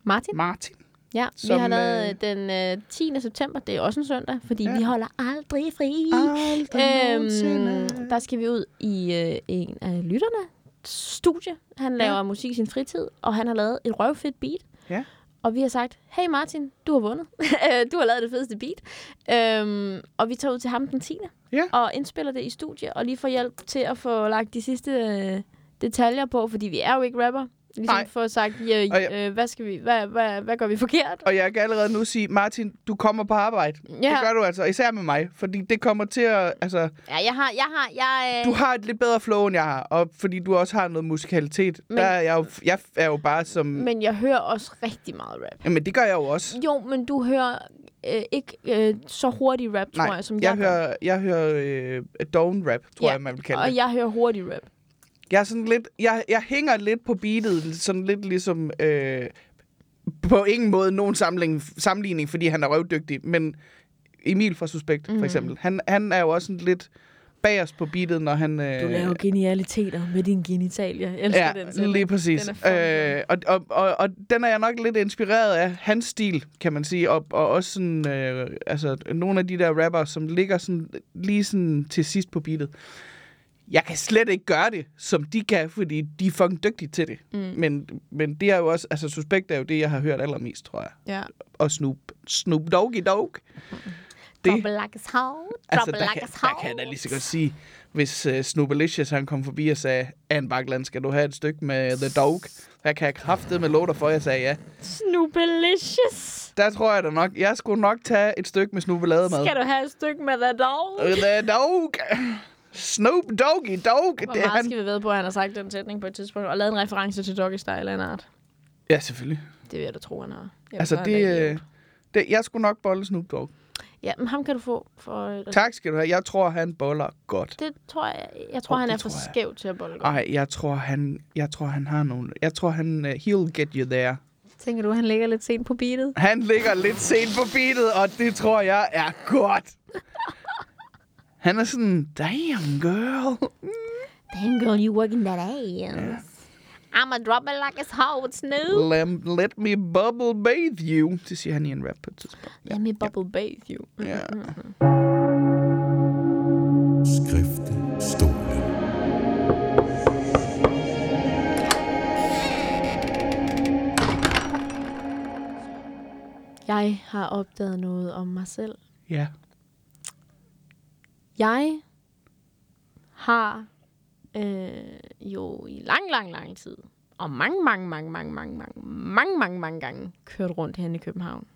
B: Martin?
A: Martin.
B: Ja,
A: Som,
B: vi har lavet
A: øh,
B: øh... den øh, 10. september. Det er også en søndag, fordi
A: Ja. Ah.
B: ja. vi holder aldrig fri.
A: Aldrig nogensinde.
B: øhm, der skal vi ud i øh, en af lytterne studie. Han laver ja. musik i sin fritid, og han har lavet et røvfedt beat.
A: Ja.
B: Og vi har sagt, hey Martin, du har vundet. (laughs) Øh, du har lavet det fedeste beat. Øhm, og vi tager ud til ham den 10.
A: Ja.
B: Og indspiller det i studie, og lige får hjælp til at få lagt de sidste øh, detaljer på, fordi vi er jo ikke rapper. Ligesom
A: Nej.
B: Nej. få sagt, ja,
A: Og jeg-
B: øh, hvad, skal vi, hvad, hvad, hvad gør vi forkert?
A: Og jeg kan allerede nu sige, Martin, du kommer på arbejde.
B: Ja.
A: Det gør du altså, især med mig. Fordi det kommer til at... Altså,
B: Ja, jeg har, jeg har, jeg...
A: du har et lidt bedre flow, end jeg har. Og fordi du også har noget musikalitet. Men,
B: Men-
A: der er jeg, jo, jeg er jo bare som... Men,
B: øh, Men jeg hører også rigtig meget rap.
A: jamen, det gør jeg jo også.
B: Jo, men du hører øh, ikke øh, så hurtig rap, tror jeg, som jeg,
A: jeg, hører, jeg hører øh, down rap, tror
B: Ja,
A: jeg, man vil
B: gør.
A: kalde det.
B: Og jeg hører hurtig rap.
A: Jeg, er sådan lidt, jeg, jeg hænger lidt på beatet, sådan lidt ligesom... Øh, på ingen måde nogen sammenligning, sammenligning, fordi han er røvdygtig, men Emil fra Suspekt, mm. for eksempel, han, han er jo også sådan lidt bagerst på beatet, når han... Øh,
B: Du laver genialiteter med din genitalie. Jeg elsker
A: Ja, altså
B: den
A: lige præcis.
B: Den er fucking
A: øh, og, og, og, og den er jeg nok lidt inspireret af hans stil, kan man sige, og, og også sådan, øh, altså, nogle af de der rapper, som ligger sådan, lige sådan til sidst på beatet. Jeg kan slet ikke gøre det, som de kan, fordi de er fucking dygtige til det. Mm. Men, men det er jo også, altså Suspekt er jo det, jeg har hørt allermest, tror jeg.
B: Ja.
A: Og Snoop, Snoop Doggy Dogg.
B: Mm. Det. Double like a sound.
A: Altså,
B: Double
A: der,
B: like
A: kan,
B: a
A: der kan jeg da lige så godt sige, hvis uh, Snoopalicious han kom forbi og sagde, Anne Bakland, skal du have et stykke med The Dog? Der kan jeg kraftedeme med love dig for, jeg sagde ja.
B: Snoopalicious.
A: Der tror jeg da nok, jeg skulle nok tage et stykke med snoopalade med. Øh,
B: Skal du have et stykke med dig dog?
A: The Dog! Snoop Doggy Dog!
B: Hvor
A: Det er
B: meget
A: han.
B: skal vi ved på, at han har sagt den sætning på et tidspunkt, og lavet en reference til Doggy Style af en art?
A: Ja, selvfølgelig.
B: Det vil jeg da tro, han har. Jeg
A: Altså,
B: tror, han er en
A: det, øh,
B: idiot.
A: det, jeg skulle nok bolle Snoop Dogg.
B: Ja, men ham kan du få for... øh,
A: Tak skal du have. Jeg tror, han boller godt.
B: Det tror jeg... Jeg tror,
A: Åh,
B: oh, han
A: det
B: er for
A: tror jeg. Ah.
B: skæv til at bolle godt.
A: Ej, jeg tror, han, jeg tror, han har nogle... Jeg tror, han... Uh, he'll get you there.
B: Tænker du, han ligger lidt sent på beatet?
A: Han ligger lidt sent på beatet, og det tror jeg er godt. Han er sådan, damn girl.
B: Damn girl, you working that ass. I'ma drop it like it's hot snow.
A: Lem, let me bubble bathe you. Det siger han i en rap på et tidspunkt.
B: Let me bubble bathe you.
A: Ja.
C: Skrifte, stole.
B: Jeg har opdaget noget om mig selv.
A: ja.
B: Jeg har øh, jo i lang, lang, lang tid, og mange, mange, mange, mange, mange, mange, mange, mange, mange gange kørt rundt hen i København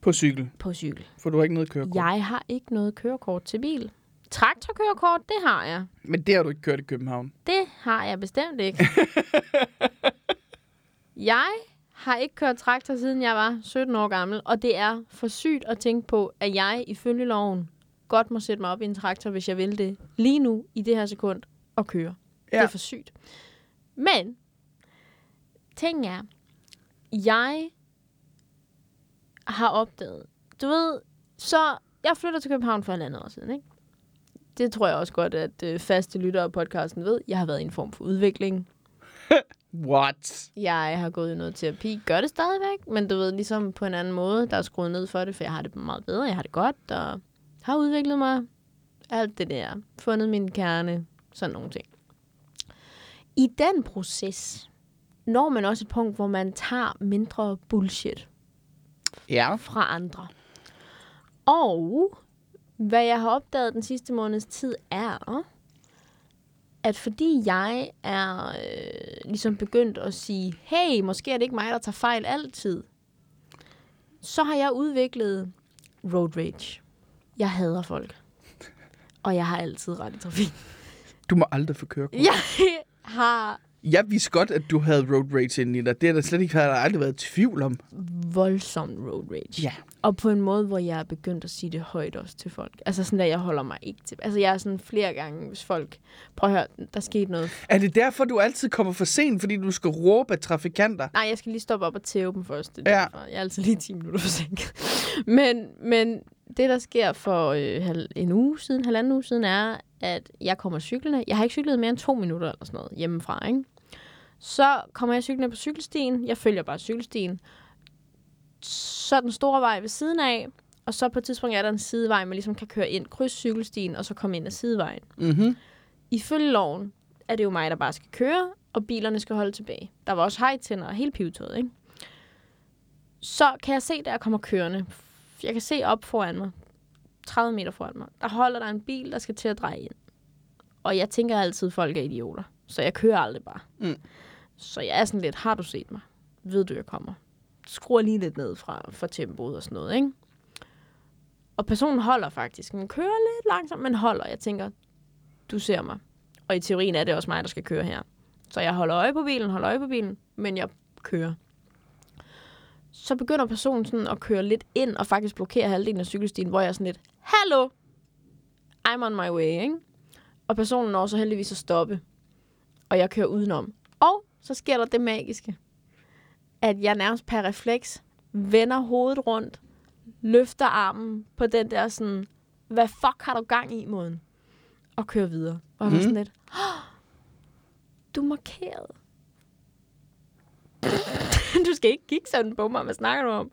A: På cykel,
B: på cykel.
A: for du har ikke noget kørekort.
B: Jeg har ikke noget kørekort til bil. Traktorkørekort, det har jeg.
A: Men det har du ikke kørt i København.
B: Det har jeg bestemt ikke. jeg har ikke kørt traktor, siden jeg var 17 år gammel, og det er for sygt at tænke på, at jeg ifølge loven godt må sætte mig op i en traktor, hvis jeg vil det, lige nu, i det her sekund, og køre. Ja. Det
A: Ja.
B: er for sygt. Men, ting er, jeg har opdaget, du ved, så jeg flytter til København for halvandet år siden, ikke? Det tror jeg også godt, at øh, faste lyttere af podcasten ved. Jeg har været i en form for udvikling.
A: What?
B: Jeg har gået i noget terapi. Gør det stadigvæk, men du ved, ligesom på en anden måde, der er skruet ned for det, for jeg har det meget bedre, jeg har det godt, og har udviklet mig. Alt det der. Fundet min kerne. Sådan nogle ting. I den proces når man også et punkt, hvor man tager mindre bullshit
A: Ja.
B: fra andre. Og hvad jeg har opdaget den sidste måneds tid er, at fordi jeg er øh, ligesom begyndt at sige, hey, måske er det ikke mig, der tager fejl altid, så har jeg udviklet road rage. Jeg hader folk. Og jeg har altid ret i trafik.
A: Du må aldrig få kørekort.
B: Jeg har
A: Jeg vidste godt, at du havde road rage inde i dig. Det har der slet ikke har der aldrig været tvivl om.
B: voldsom road rage.
A: Ja.
B: Og på en måde, hvor jeg er begyndt at sige det højt også til folk. Altså sådan, at jeg holder mig ikke til. Altså jeg er sådan flere gange, hvis folk... Prøv at høre, der skete noget.
A: Er det derfor, du altid kommer for sent, fordi du skal råbe af trafikanter?
B: Nej, jeg skal lige stoppe op og tæve dem først. Det
A: Ja.
B: er derfor. Jeg er altid lige 10 minutter forsinket. (laughs) Men, men det, der sker for øh, hal- en uge siden, halvanden uge siden, er, at jeg kommer cyklende. Jeg har ikke cyklet mere end to minutter eller sådan noget hjemmefra, ikke? Så kommer jeg cyklende på cykelstien. Jeg følger bare cykelstien. Så er den store vej ved siden af, og så på et tidspunkt er der en sidevej, man ligesom kan køre ind, kryds cykelstien, og så komme ind ad sidevejen.
A: Mm-hmm.
B: Ifølge loven er det jo mig, der bare skal køre, og bilerne skal holde tilbage. Der var også hejtænder og hele pivetøjet, ikke? Så kan jeg se, der jeg kommer kørende. Jeg kan se op foran mig. 30 meter foran mig. Der holder der en bil, der skal til at dreje ind. Og jeg tænker altid, at folk er idioter. Så jeg kører aldrig bare.
A: Mm.
B: Så jeg er sådan lidt, har du set mig? Ved du, jeg kommer? Skruer lige lidt ned fra, for tempoet og sådan noget, ikke? Og personen holder faktisk. Den kører lidt langsomt, men holder. Jeg tænker, du ser mig. Og i teorien er det også mig, der skal køre her. Så jeg holder øje på bilen, holder øje på bilen, men jeg kører. Så begynder personen sådan at køre lidt ind og faktisk blokere halvdelen af cykelstien, hvor jeg er sådan lidt, Hallo! I'm on my way, ikke? Og personen når så heldigvis at stoppe. Og jeg kører udenom. Og så sker der det magiske. At jeg nærmest per refleks vender hovedet rundt, løfter armen på den der sådan, hvad fuck har du gang i, måden? Og kører videre. Og jeg var sådan lidt, "Åh, du er markeret. (laughs) du skal ikke kigge sådan på mig. Hvad snakker du om?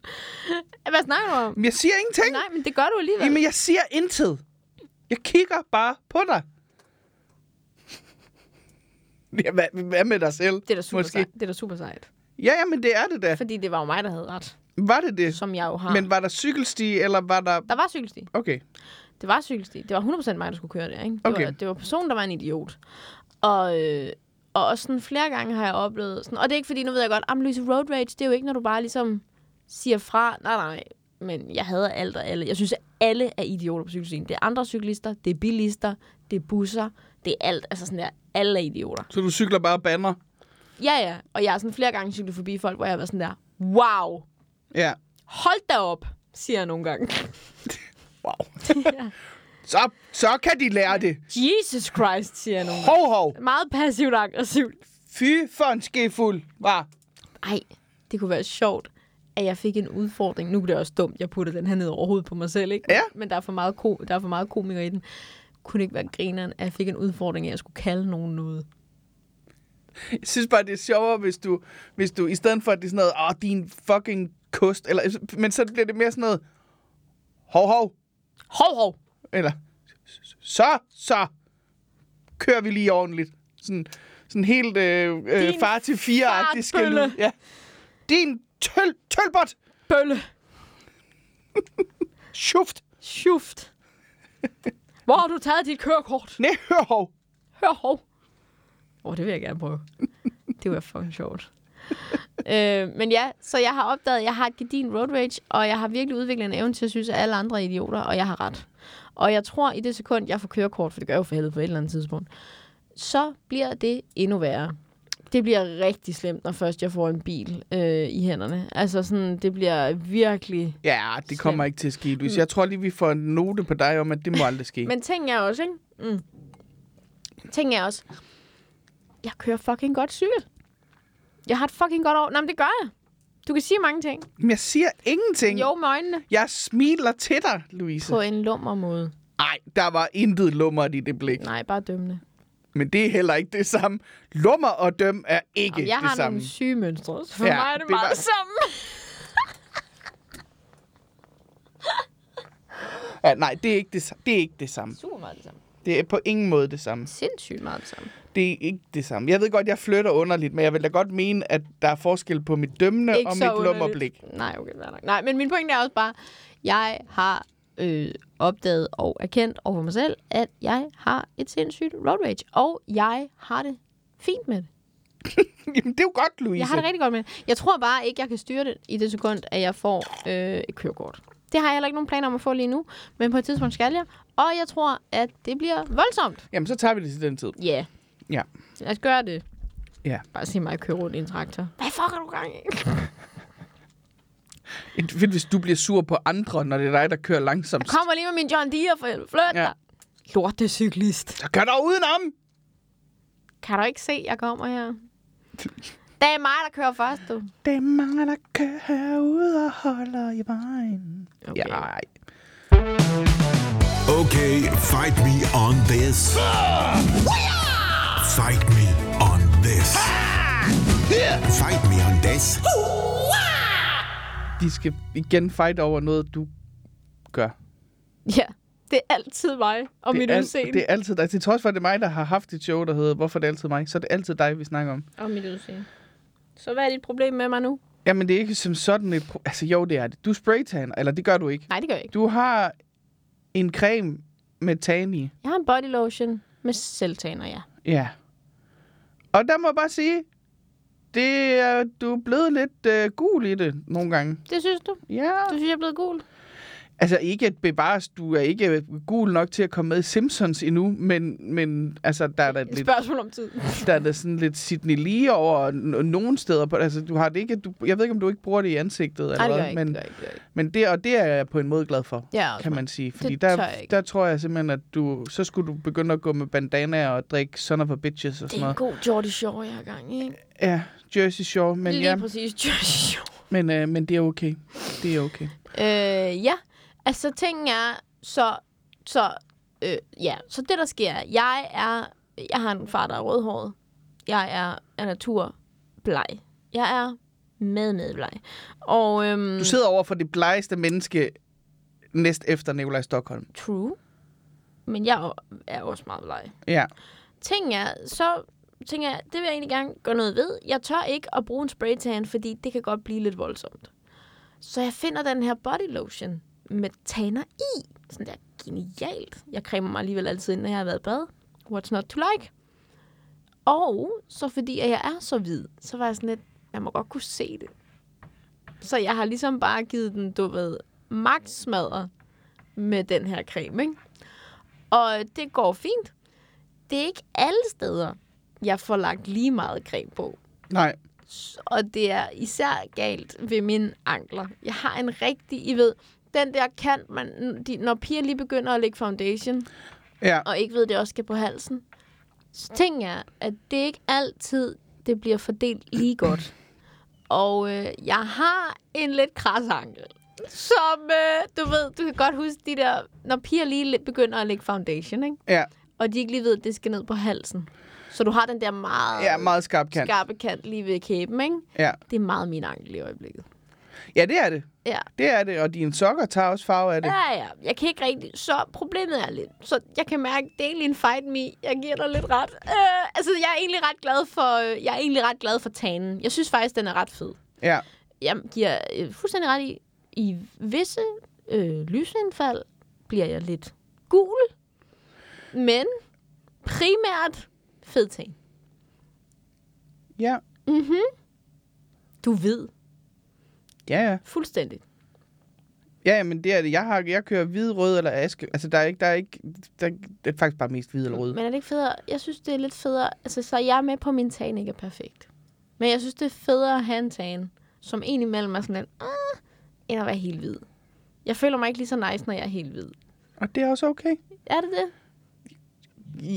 B: Hvad snakker du om?
A: Men jeg siger ingenting.
B: Nej, men det gør du alligevel.
A: Jamen, jeg siger intet. Jeg kigger bare på dig. (laughs) Ja, hvad, hvad med dig selv?
B: Det er da super, sejt. Det er da super sejt.
A: Ja, ja, men det er det da.
B: Fordi det var jo mig, der havde ret.
A: Var det det?
B: Som jeg jo har.
A: Men var der cykelsti, eller var der...
B: Der var cykelsti.
A: Okay.
B: Det var cykelsti. Det var 100% mig, der skulle køre der. Ikke? Det,
A: Okay.
B: var, det var personen, der var en idiot. Og, øh, og også sådan flere gange har jeg oplevet... Sådan, og det er ikke fordi, nu ved jeg godt, at Louise Road Rage, det er jo ikke, når du bare ligesom siger fra. Nej, nej, men jeg hader alt og alle. Jeg synes, at alle er idioter på cykelstien. Det er andre cyklister, det er bilister, det er busser, det er alt. Altså sådan der, alle er idioter.
A: Så du cykler bare og banner?
B: Ja, ja. Og jeg har sådan flere gange cyklet forbi folk, hvor jeg har været sådan der, wow,
A: Ja.
B: hold da op, siger jeg nogle gange. (laughs)
A: Wow. så, så kan de lære det.
B: Jesus Christ, siger jeg nogle gange.
A: Hov, hov.
B: Meget passivt aggressivt.
A: Fy for en skefuld. Var.
B: Ej, det kunne være sjovt, at jeg fik en udfordring. Nu bliver det også dumt, jeg putter den her ned over hovedet på mig selv, ikke?
A: Ja.
B: Men der er for meget, ko- der er for meget komiker i den. Kunne det ikke være grineren, at jeg fik en udfordring, at jeg skulle kalde nogen noget?
A: Jeg synes bare, det er sjovere, hvis du, hvis du i stedet for, at det er sådan noget, åh, din fucking kost, eller, men så bliver det mere sådan noget, hov, hov,
B: Hov, hov!
A: eller, så, så, kører vi lige ordentligt. Sådan, sådan helt øh, øh,
B: Din
A: far til fire-agtig skal ud.
B: fartbølle.
A: Ja. Din tøl, tølbot,
B: Bølle!
A: schuft,
B: Schuft! Hvor har du taget dit kørekort?
A: næ, hør, hov.
B: Hør hov. Åh, oh, det vil jeg gerne prøve. Det var fucking sjovt. (laughs) øh, men ja, så jeg har opdaget, at jeg har et gedin road rage, og jeg har virkelig udviklet en evne til at synes, at alle andre er idioter, og jeg har ret. Og jeg tror, i det sekund, jeg får kørekort, for det gør jeg jo for helvede på et eller andet tidspunkt, så bliver det endnu værre. Det bliver rigtig slemt, når først jeg får en bil øh, i hænderne. Altså sådan, det bliver virkelig...
A: Ja, det kommer
B: Slemt.
A: ikke til at ske, Louise. Jeg tror lige, vi får en note på dig om, at
B: (laughs)
A: det må aldrig ske.
B: Mm. Men ting er også, ikke? Mm. Ting er også, jeg kører fucking godt cykel. Jeg har et fucking godt år. Nej, men det gør jeg. Du kan sige mange ting.
A: Men jeg siger ingenting.
B: Jo, med øjnene.
A: Jeg smiler til dig, Louise.
B: På en lummer måde.
A: Nej, der var intet lummert i det blik.
B: Nej, bare dømmende.
A: Men det er heller ikke det samme. Lummer og døm er ikke
B: Jamen, jeg
A: det
B: har
A: samme.
B: nogle syge mønstre. Så for
A: Ja,
B: ja, mig er det,
A: det
B: det meget
A: var-
B: var... sammen.
A: Ja, nej, det er, ikke det, sa- det er ikke det samme.
B: (laughs) Super meget det samme.
A: Det er på ingen måde det samme.
B: Sindssygt meget det samme.
A: Det er ikke det samme. Jeg ved godt, jeg flytter underligt, men jeg vil da godt mene, at der er forskel på mit dømmende og mit
B: underligt.
A: lummerblik. (laughs)
B: Nej, okay, fair nok. Nej, men min pointe er også bare, jeg har øh, opdaget og erkendt over for mig selv, at jeg har et sindssygt road rage, og jeg har det fint med det.
A: Jamen, det er jo godt, Louise.
B: Jeg har det rigtig godt med det. Jeg tror bare ikke, jeg kan styre det i det sekund, at jeg får øh, et kørekort. Det har jeg heller ikke nogen planer om at få lige nu, men på et tidspunkt skal jeg. Og jeg tror, at det bliver voldsomt.
A: Jamen, så tager vi det til den tid.
B: Ja. Yeah.
A: Ja.
B: Lad os gøre det.
A: Ja.
B: Bare se mig køre rundt i en traktor. Hvad fuck har du gang i?
A: Det er fedt, hvis du bliver sur på andre, når det er dig, der kører langsomt.
B: Kommer lige med min John Deere for helvede. Flyt
A: Ja.
B: ja. dig. Lortecyklist.
A: Så kør dig udenom!
B: Kan du ikke se, jeg kommer
A: (laughs)
B: her? Det er mig, der kører først, du.
A: Det er mange, der kører ude og holder i vejen. Okay. Ja, ej.
C: Okay, fight me on this. Fight me on this. Fight me on this.
A: de skal igen fight over noget, du gør.
B: Ja, det er altid mig og
A: det,
B: mit
A: er al-
B: udseende.
A: det er altid dig. Til trods for, at det er mig, der har haft et show, der hedder Hvorfor er det altid mig, så er det altid dig, vi snakker om.
B: Og mit udseende. Så hvad er dit problem med mig nu?
A: Jamen, det er ikke som sådan et... Pro- altså, jo, det er det. Du spraytan, eller det gør du ikke.
B: Nej, det gør jeg ikke.
A: Du har en creme med tan i.
B: Jeg har en body lotion med selvtaner, ja.
A: Ja. Og der må jeg bare sige, Det er, du er blevet lidt øh, gul i det nogle gange.
B: Det synes du?
A: Ja.
B: Du synes, jeg er blevet gul?
A: Altså ikke at bevares, du er ikke gul nok til at komme med i Simpsons endnu, men, men altså, der er da
B: Et
A: lidt,
B: spørgsmål om tid.
A: der er da sådan lidt Sydney lige over n- nogle steder. På, altså, du har det ikke, du, jeg ved ikke, om du ikke bruger det i ansigtet eller
B: Nej, det gør
A: hvad,
B: jeg ikke.
A: men,
B: det gør jeg ikke, det gør jeg ikke.
A: men det, og det er jeg på en måde glad for,
B: Jeg er også
A: kan
B: meget-
A: man sige. Fordi
B: Det
A: der,
B: tør jeg ikke.
A: der tror jeg simpelthen, at du, så skulle du begynde at gå med bandanaer og drikke son of a bitches og
B: Det
A: sådan
B: er en
A: noget.
B: god Jordi Shaw, jeg har gang i, ikke?
A: Ja, Jersey Shore, men,
B: Lige
A: ja,
B: præcis, Jordi Shaw.
A: men, øh, men det er okay. Det er okay.
B: Øh, ja, altså tingen er, så, så, øh, ja, så det der sker, er, jeg er, jeg har en far, der er rødhåret. Jeg er af natur bleg. Jeg er med med bleg. Og, øhm,
A: Du sidder over for det blegeste menneske næst efter Nikolaj Stockholm.
B: true, men jeg er jo- er også meget bleg.
A: Ja.
B: Ting er, så tænker jeg, det vil jeg egentlig gerne gøre noget ved. Jeg tør ikke at bruge en spraytan, fordi det kan godt blive lidt voldsomt. Så jeg finder den her body lotion med tanner i. Sådan der genialt. Jeg cremer mig alligevel altid, ind, når jeg har været i bad. What's not to like? Og så fordi at jeg er så hvid, så var jeg sådan lidt, jeg må godt kunne se det. Så jeg har ligesom bare givet den, du ved, magtsmadder med den her creme, ikke? Og det går fint. Det er ikke alle steder, jeg får lagt lige meget creme på.
A: Nej.
B: Og det er især galt ved mine ankler. Jeg har en rigtig, I ved, den der kant, man, de, når piger lige begynder at lægge foundation,
A: Ja.
B: og ikke ved, at det også skal på halsen, så tænker jeg, at det ikke altid, det bliver fordelt lige godt. Og øh, jeg har en lidt kras ankel, som, øh, du ved, du kan godt huske de der, når piger lige lidt begynder at lægge foundation, ikke?
A: Ja.
B: og de ikke lige ved, at det skal ned på halsen. Så du har den der meget,
A: Ja, meget skarp kant.
B: skarpe kant lige ved kæben, ikke?
A: Ja.
B: Det er meget min ankel i øjeblikket.
A: ja, det er det.
B: Ja.
A: Det er det, og dine sokker tager også farve af det.
B: Ja, ja. Jeg kan ikke rigtig... Så problemet er lidt... Så jeg kan mærke, det er egentlig en fight me. Jeg giver dig lidt ret. Øh, altså, jeg er egentlig ret glad for... øh, Jeg er egentlig ret glad for tanen. Jeg synes faktisk, den er ret fed.
A: Ja.
B: Jeg giver øh, fuldstændig ret i... I visse øh, lysindfald bliver jeg lidt gul. Men primært fed tan.
A: Ja.
B: Mm-hmm. Du ved.
A: Ja, ja.
B: Fuldstændig.
A: Ja, men det er det. Jeg, har, jeg kører hvid, rød eller aske. Altså, der er ikke... Der er ikke der, det er faktisk bare mest hvid eller rød.
B: Men er det ikke federe? Jeg synes, det er lidt federe. Altså, så jeg er med på, at min tan ikke er perfekt. Men jeg synes, det er federe at have en tan, som en imellem er sådan lidt, ah, end at være helt hvid. Jeg føler mig ikke lige så nice, når jeg er helt hvid.
A: Og det er også okay.
B: Er det det?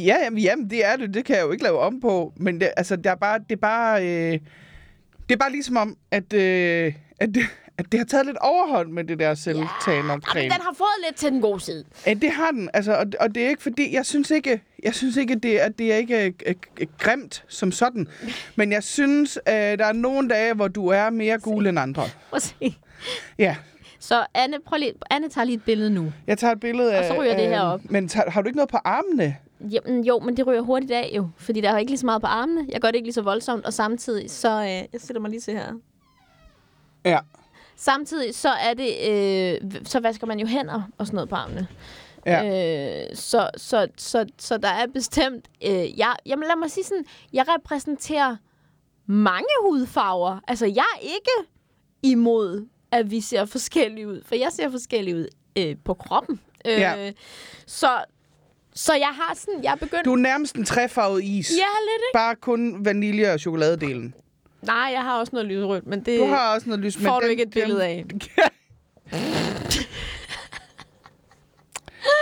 A: Ja, jamen, jamen, det er det. Det kan jeg jo ikke lave om på. Men det, altså, der er bare, det er bare... Øh, det er bare ligesom om, at, øh, at, at det har taget lidt overhånd med det der selvtagen om
B: Jamen,
A: creme.
B: den har fået lidt til den gode side.
A: Ja, det har den, altså, og, og det er ikke fordi, jeg synes ikke, jeg synes ikke, det er, det er ikke øh, øh, øh, grimt som sådan, men jeg synes, øh, der er nogle dage, hvor du er mere gul end andre.
B: Prøv at se.
A: Ja,
B: Så Anne, prøv lige, Anne tager lige et billede nu.
A: jeg tager et billede af...
B: Og så ryger det
A: af-
B: her op.
A: Men tager, har du ikke noget på armene?
B: Jamen, jo, men det ryger hurtigt af jo, fordi der er ikke lige så meget på armene. Jeg gør det ikke lige så voldsomt, og samtidig så... Øh, jeg sætter mig lige til her.
A: Ja.
B: Samtidig så er det, øh, så vasker man jo hænder og sådan noget på armene.
A: Ja.
B: Øh, så, så, så, så der er bestemt, øh, jeg, jamen lad mig sige sådan, jeg repræsenterer mange hudfarver. Altså jeg er ikke imod, at vi ser forskellige ud, for jeg ser forskellige ud øh, på kroppen. Øh,
A: Ja.
B: Så, så jeg har sådan, jeg er begyndt...
A: Du er nærmest en træfarvet is.
B: Ja, lidt, ikke?
A: Bare kun vanilje- og chokoladedelen.
B: Nej, jeg har også noget lyserødt, men det...
A: Du har også noget lys, men
B: Øh, Får du
A: den-
B: ikke et
A: den-
B: billede af? (laughs)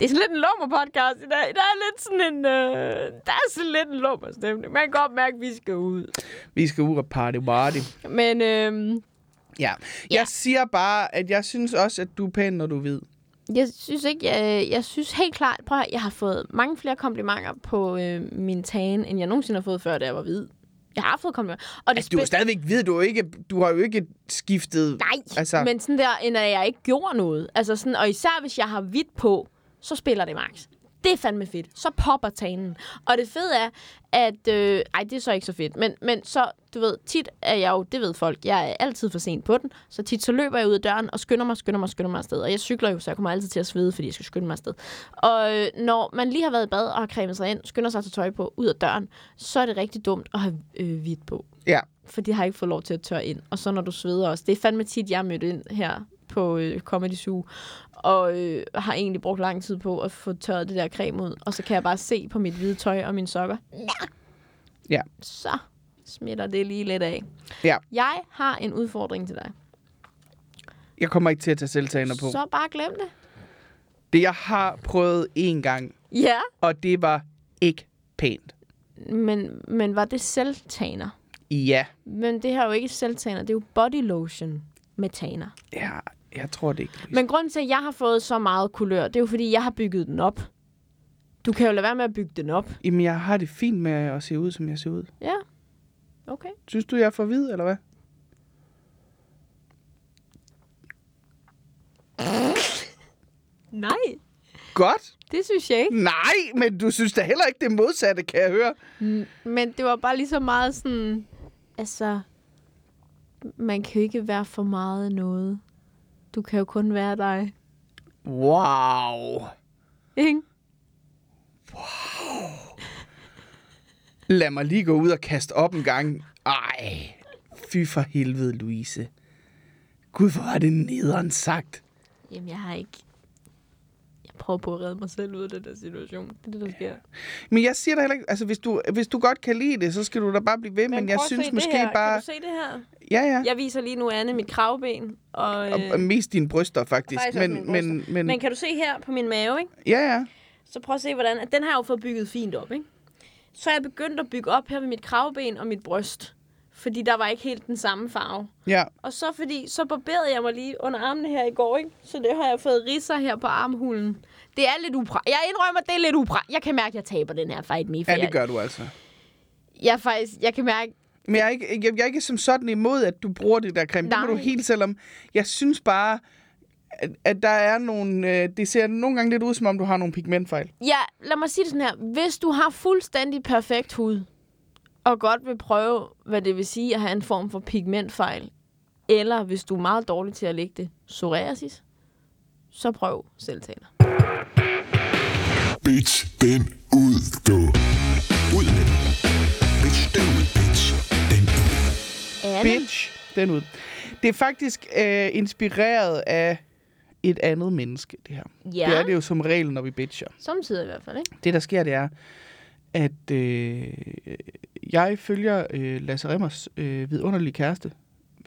B: Det er sådan lidt en lummer podcast i dag. Der er lidt sådan en... Øh, der er sådan lidt en lummer stemning. Man kan godt mærke, at vi skal ud.
A: Vi skal ud og party, party.
B: Men øh,
A: Ja.
B: Ja.
A: Jeg siger bare, at jeg synes også, at du er pæn, når du er hvid.
B: jeg synes ikke... Jeg, jeg synes helt klart... Prøv at, høre, jeg har fået mange flere komplimenter på øh, min tan, end jeg nogensinde har fået før, da jeg var hvid. Jeg har fået komplimenter. Og det
A: Altså, du er jo
B: spil-
A: stadigvæk hvid. Du, er jo ikke, du har jo ikke skiftet...
B: Nej,
A: altså-
B: altså... men sådan der, end at jeg ikke gjorde noget. Altså sådan, og især hvis jeg har hvidt på, så spiller det max. Det er fandme fedt. Så popper tanen. Og det fede er, at... Øh, ej, det er så ikke så fedt. Men, men så, du ved, tit er jeg jo... Det ved folk. Jeg er altid for sent på den. Så tit så løber jeg ud af døren og skynder mig, skynder mig, skynder mig afsted. Og jeg cykler jo, så jeg kommer altid til at svede, fordi jeg skal skynde mig afsted. Og øh, når man lige har været i bad og har cremet sig ind, skynder sig at tage tøj på ud af døren, så er det rigtig dumt at have øh, hvidt på
A: Ja.
B: for de har ikke fået lov til at tørre ind. Og så når du sveder også. Det er fandme tit, jeg er mødt ind her på øh, Comedy Zoo, og øh, har egentlig brugt lang tid på at få tørret det der creme ud. Og så kan jeg bare se på mit hvide tøj og mine sokker.
A: Ja.
B: Så smitter det lige lidt af.
A: Ja.
B: Jeg har en udfordring til dig.
A: Jeg kommer ikke til at tage selvtagener på.
B: Så bare glem det.
A: Det jeg har prøvet én gang,
B: Ja.
A: og det var ikke pænt.
B: Men, men var det selvtaner?
A: Ja.
B: Men det her er jo ikke selvtaner, det er jo body lotion med taner.
A: Ja, jeg tror det ikke. Louise.
B: Men grunden til, at jeg har fået så meget kulør, det er jo, fordi jeg har bygget den op. Du kan jo lade være med at bygge den op.
A: Jamen, jeg har det fint med at se ud, som jeg ser ud.
B: Ja. Okay.
A: Synes du, jeg er for hvid, eller hvad?
B: Nej,
A: Godt.
B: det synes jeg ikke.
A: Nej, men du synes da heller ikke det modsatte, kan jeg høre.
B: Men det var bare lige så meget sådan... Altså, man kan jo ikke være for meget noget. Du kan jo kun være dig.
A: Wow.
B: Ikke?
A: Lad mig lige gå ud og kaste op en gang. Ej, fy for helvede, Louise. Gud, hvor er det nederen sagt.
B: Jamen, jeg har ikke... Jeg prøver på at redde mig selv ud af den der situation. Det er det, der sker.
A: Men jeg siger da heller ikke, altså hvis du, hvis du godt kan lide det, så skal du da bare blive ved, men, men jeg synes måske bare...
B: se det her?
A: Ja, ja.
B: Jeg viser lige nu Anne mit kravben. Og,
A: Og, og mest dine bryster, faktisk.
B: Faktisk også
A: men,
B: mine bryster.
A: men, men,
B: Men kan du se her på min mave, ikke?
A: Ja, ja.
B: Så prøv at se, hvordan... At den har jeg jo fået bygget fint op, ikke? Så er jeg begyndt at bygge op her ved mit kravben og mit bryst. Fordi der var ikke helt den samme farve.
A: Ja,
B: Og så fordi, så barberede jeg mig lige under armene her i går, ikke? Så det har jeg fået ridser her på armhulen. Det er lidt upra. Jeg indrømmer, det er lidt upra. Jeg kan mærke, at jeg taber den her fight me. for
A: ja det
B: jeg,
A: gør du altså.
B: jeg, er faktisk, jeg kan mærke,
A: Men jeg er, ikke, jeg, jeg er ikke som sådan imod, at du bruger det der creme. Nej. Det må
B: Nej.
A: du helt selv om. Jeg synes bare, at, at der er nogle... Øh, det ser nogle gange lidt ud, som om du har nogle pigmentfejl.
B: Ja, lad mig sige det sådan her. Hvis du har fuldstændig perfekt hud, og godt vil prøve, hvad det vil sige at have en form for pigmentfejl, eller hvis du er meget dårlig til at lægge det, psoriasis, så prøv selvtaler.
C: Bitch, den ud, du. Ud med den. Bitch, den ud, bitch. Den ud.
B: Anne,
A: Bitch, den ud. Det er faktisk øh, inspireret af et andet menneske, det her.
B: Ja.
A: Det er det jo som regel, når vi bitcher.
B: samtidig i hvert fald, ikke?
A: Det, der sker, det er, at øh, jeg følger øh, Lasse Remmers øh, vidunderlige kæreste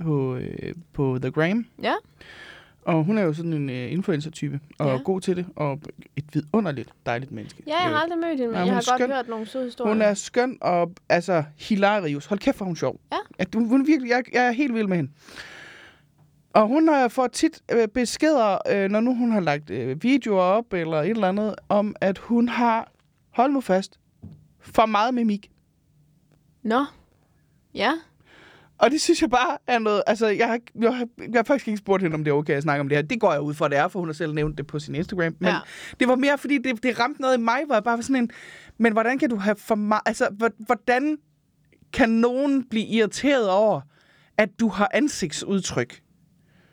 A: på, øh, på The Gram.
B: Ja.
A: Og hun er jo sådan en øh, influencer-type, og
B: Ja.
A: ja. god til det, og et vidunderligt dejligt menneske. Øh,
B: Ja, jeg har aldrig mødt hende, men
A: Nej,
B: jeg
A: hun
B: har
A: er
B: godt
A: skøn.
B: hørt nogle søde historier.
A: hun er skøn og altså hilarious. Hold kæft, hvor er hun sjov.
B: Ja.
A: At hun, hun er virkelig, jeg, jeg er helt vild med hende. Og hun øh, får tit øh, beskeder, øh, når nu hun har lagt øh, videoer op eller et eller andet, om at hun har, hold nu fast, for meget mimik.
B: Nå. Ja.
A: Og det synes jeg bare er noget... Altså, jeg har, ikke- jeg har, jeg har faktisk ikke spurgt hende, om det er okay at snakke om det her. Det går jeg ud fra, det er, for hun har selv nævnt det på sin Instagram. Men
B: Ja.
A: ja. det var mere, fordi det, det ramte noget i mig, hvor jeg bare var sådan en... Men hvordan kan du have for meget... Altså, hvor- hvordan kan nogen blive irriteret over, at du har ansigtsudtryk?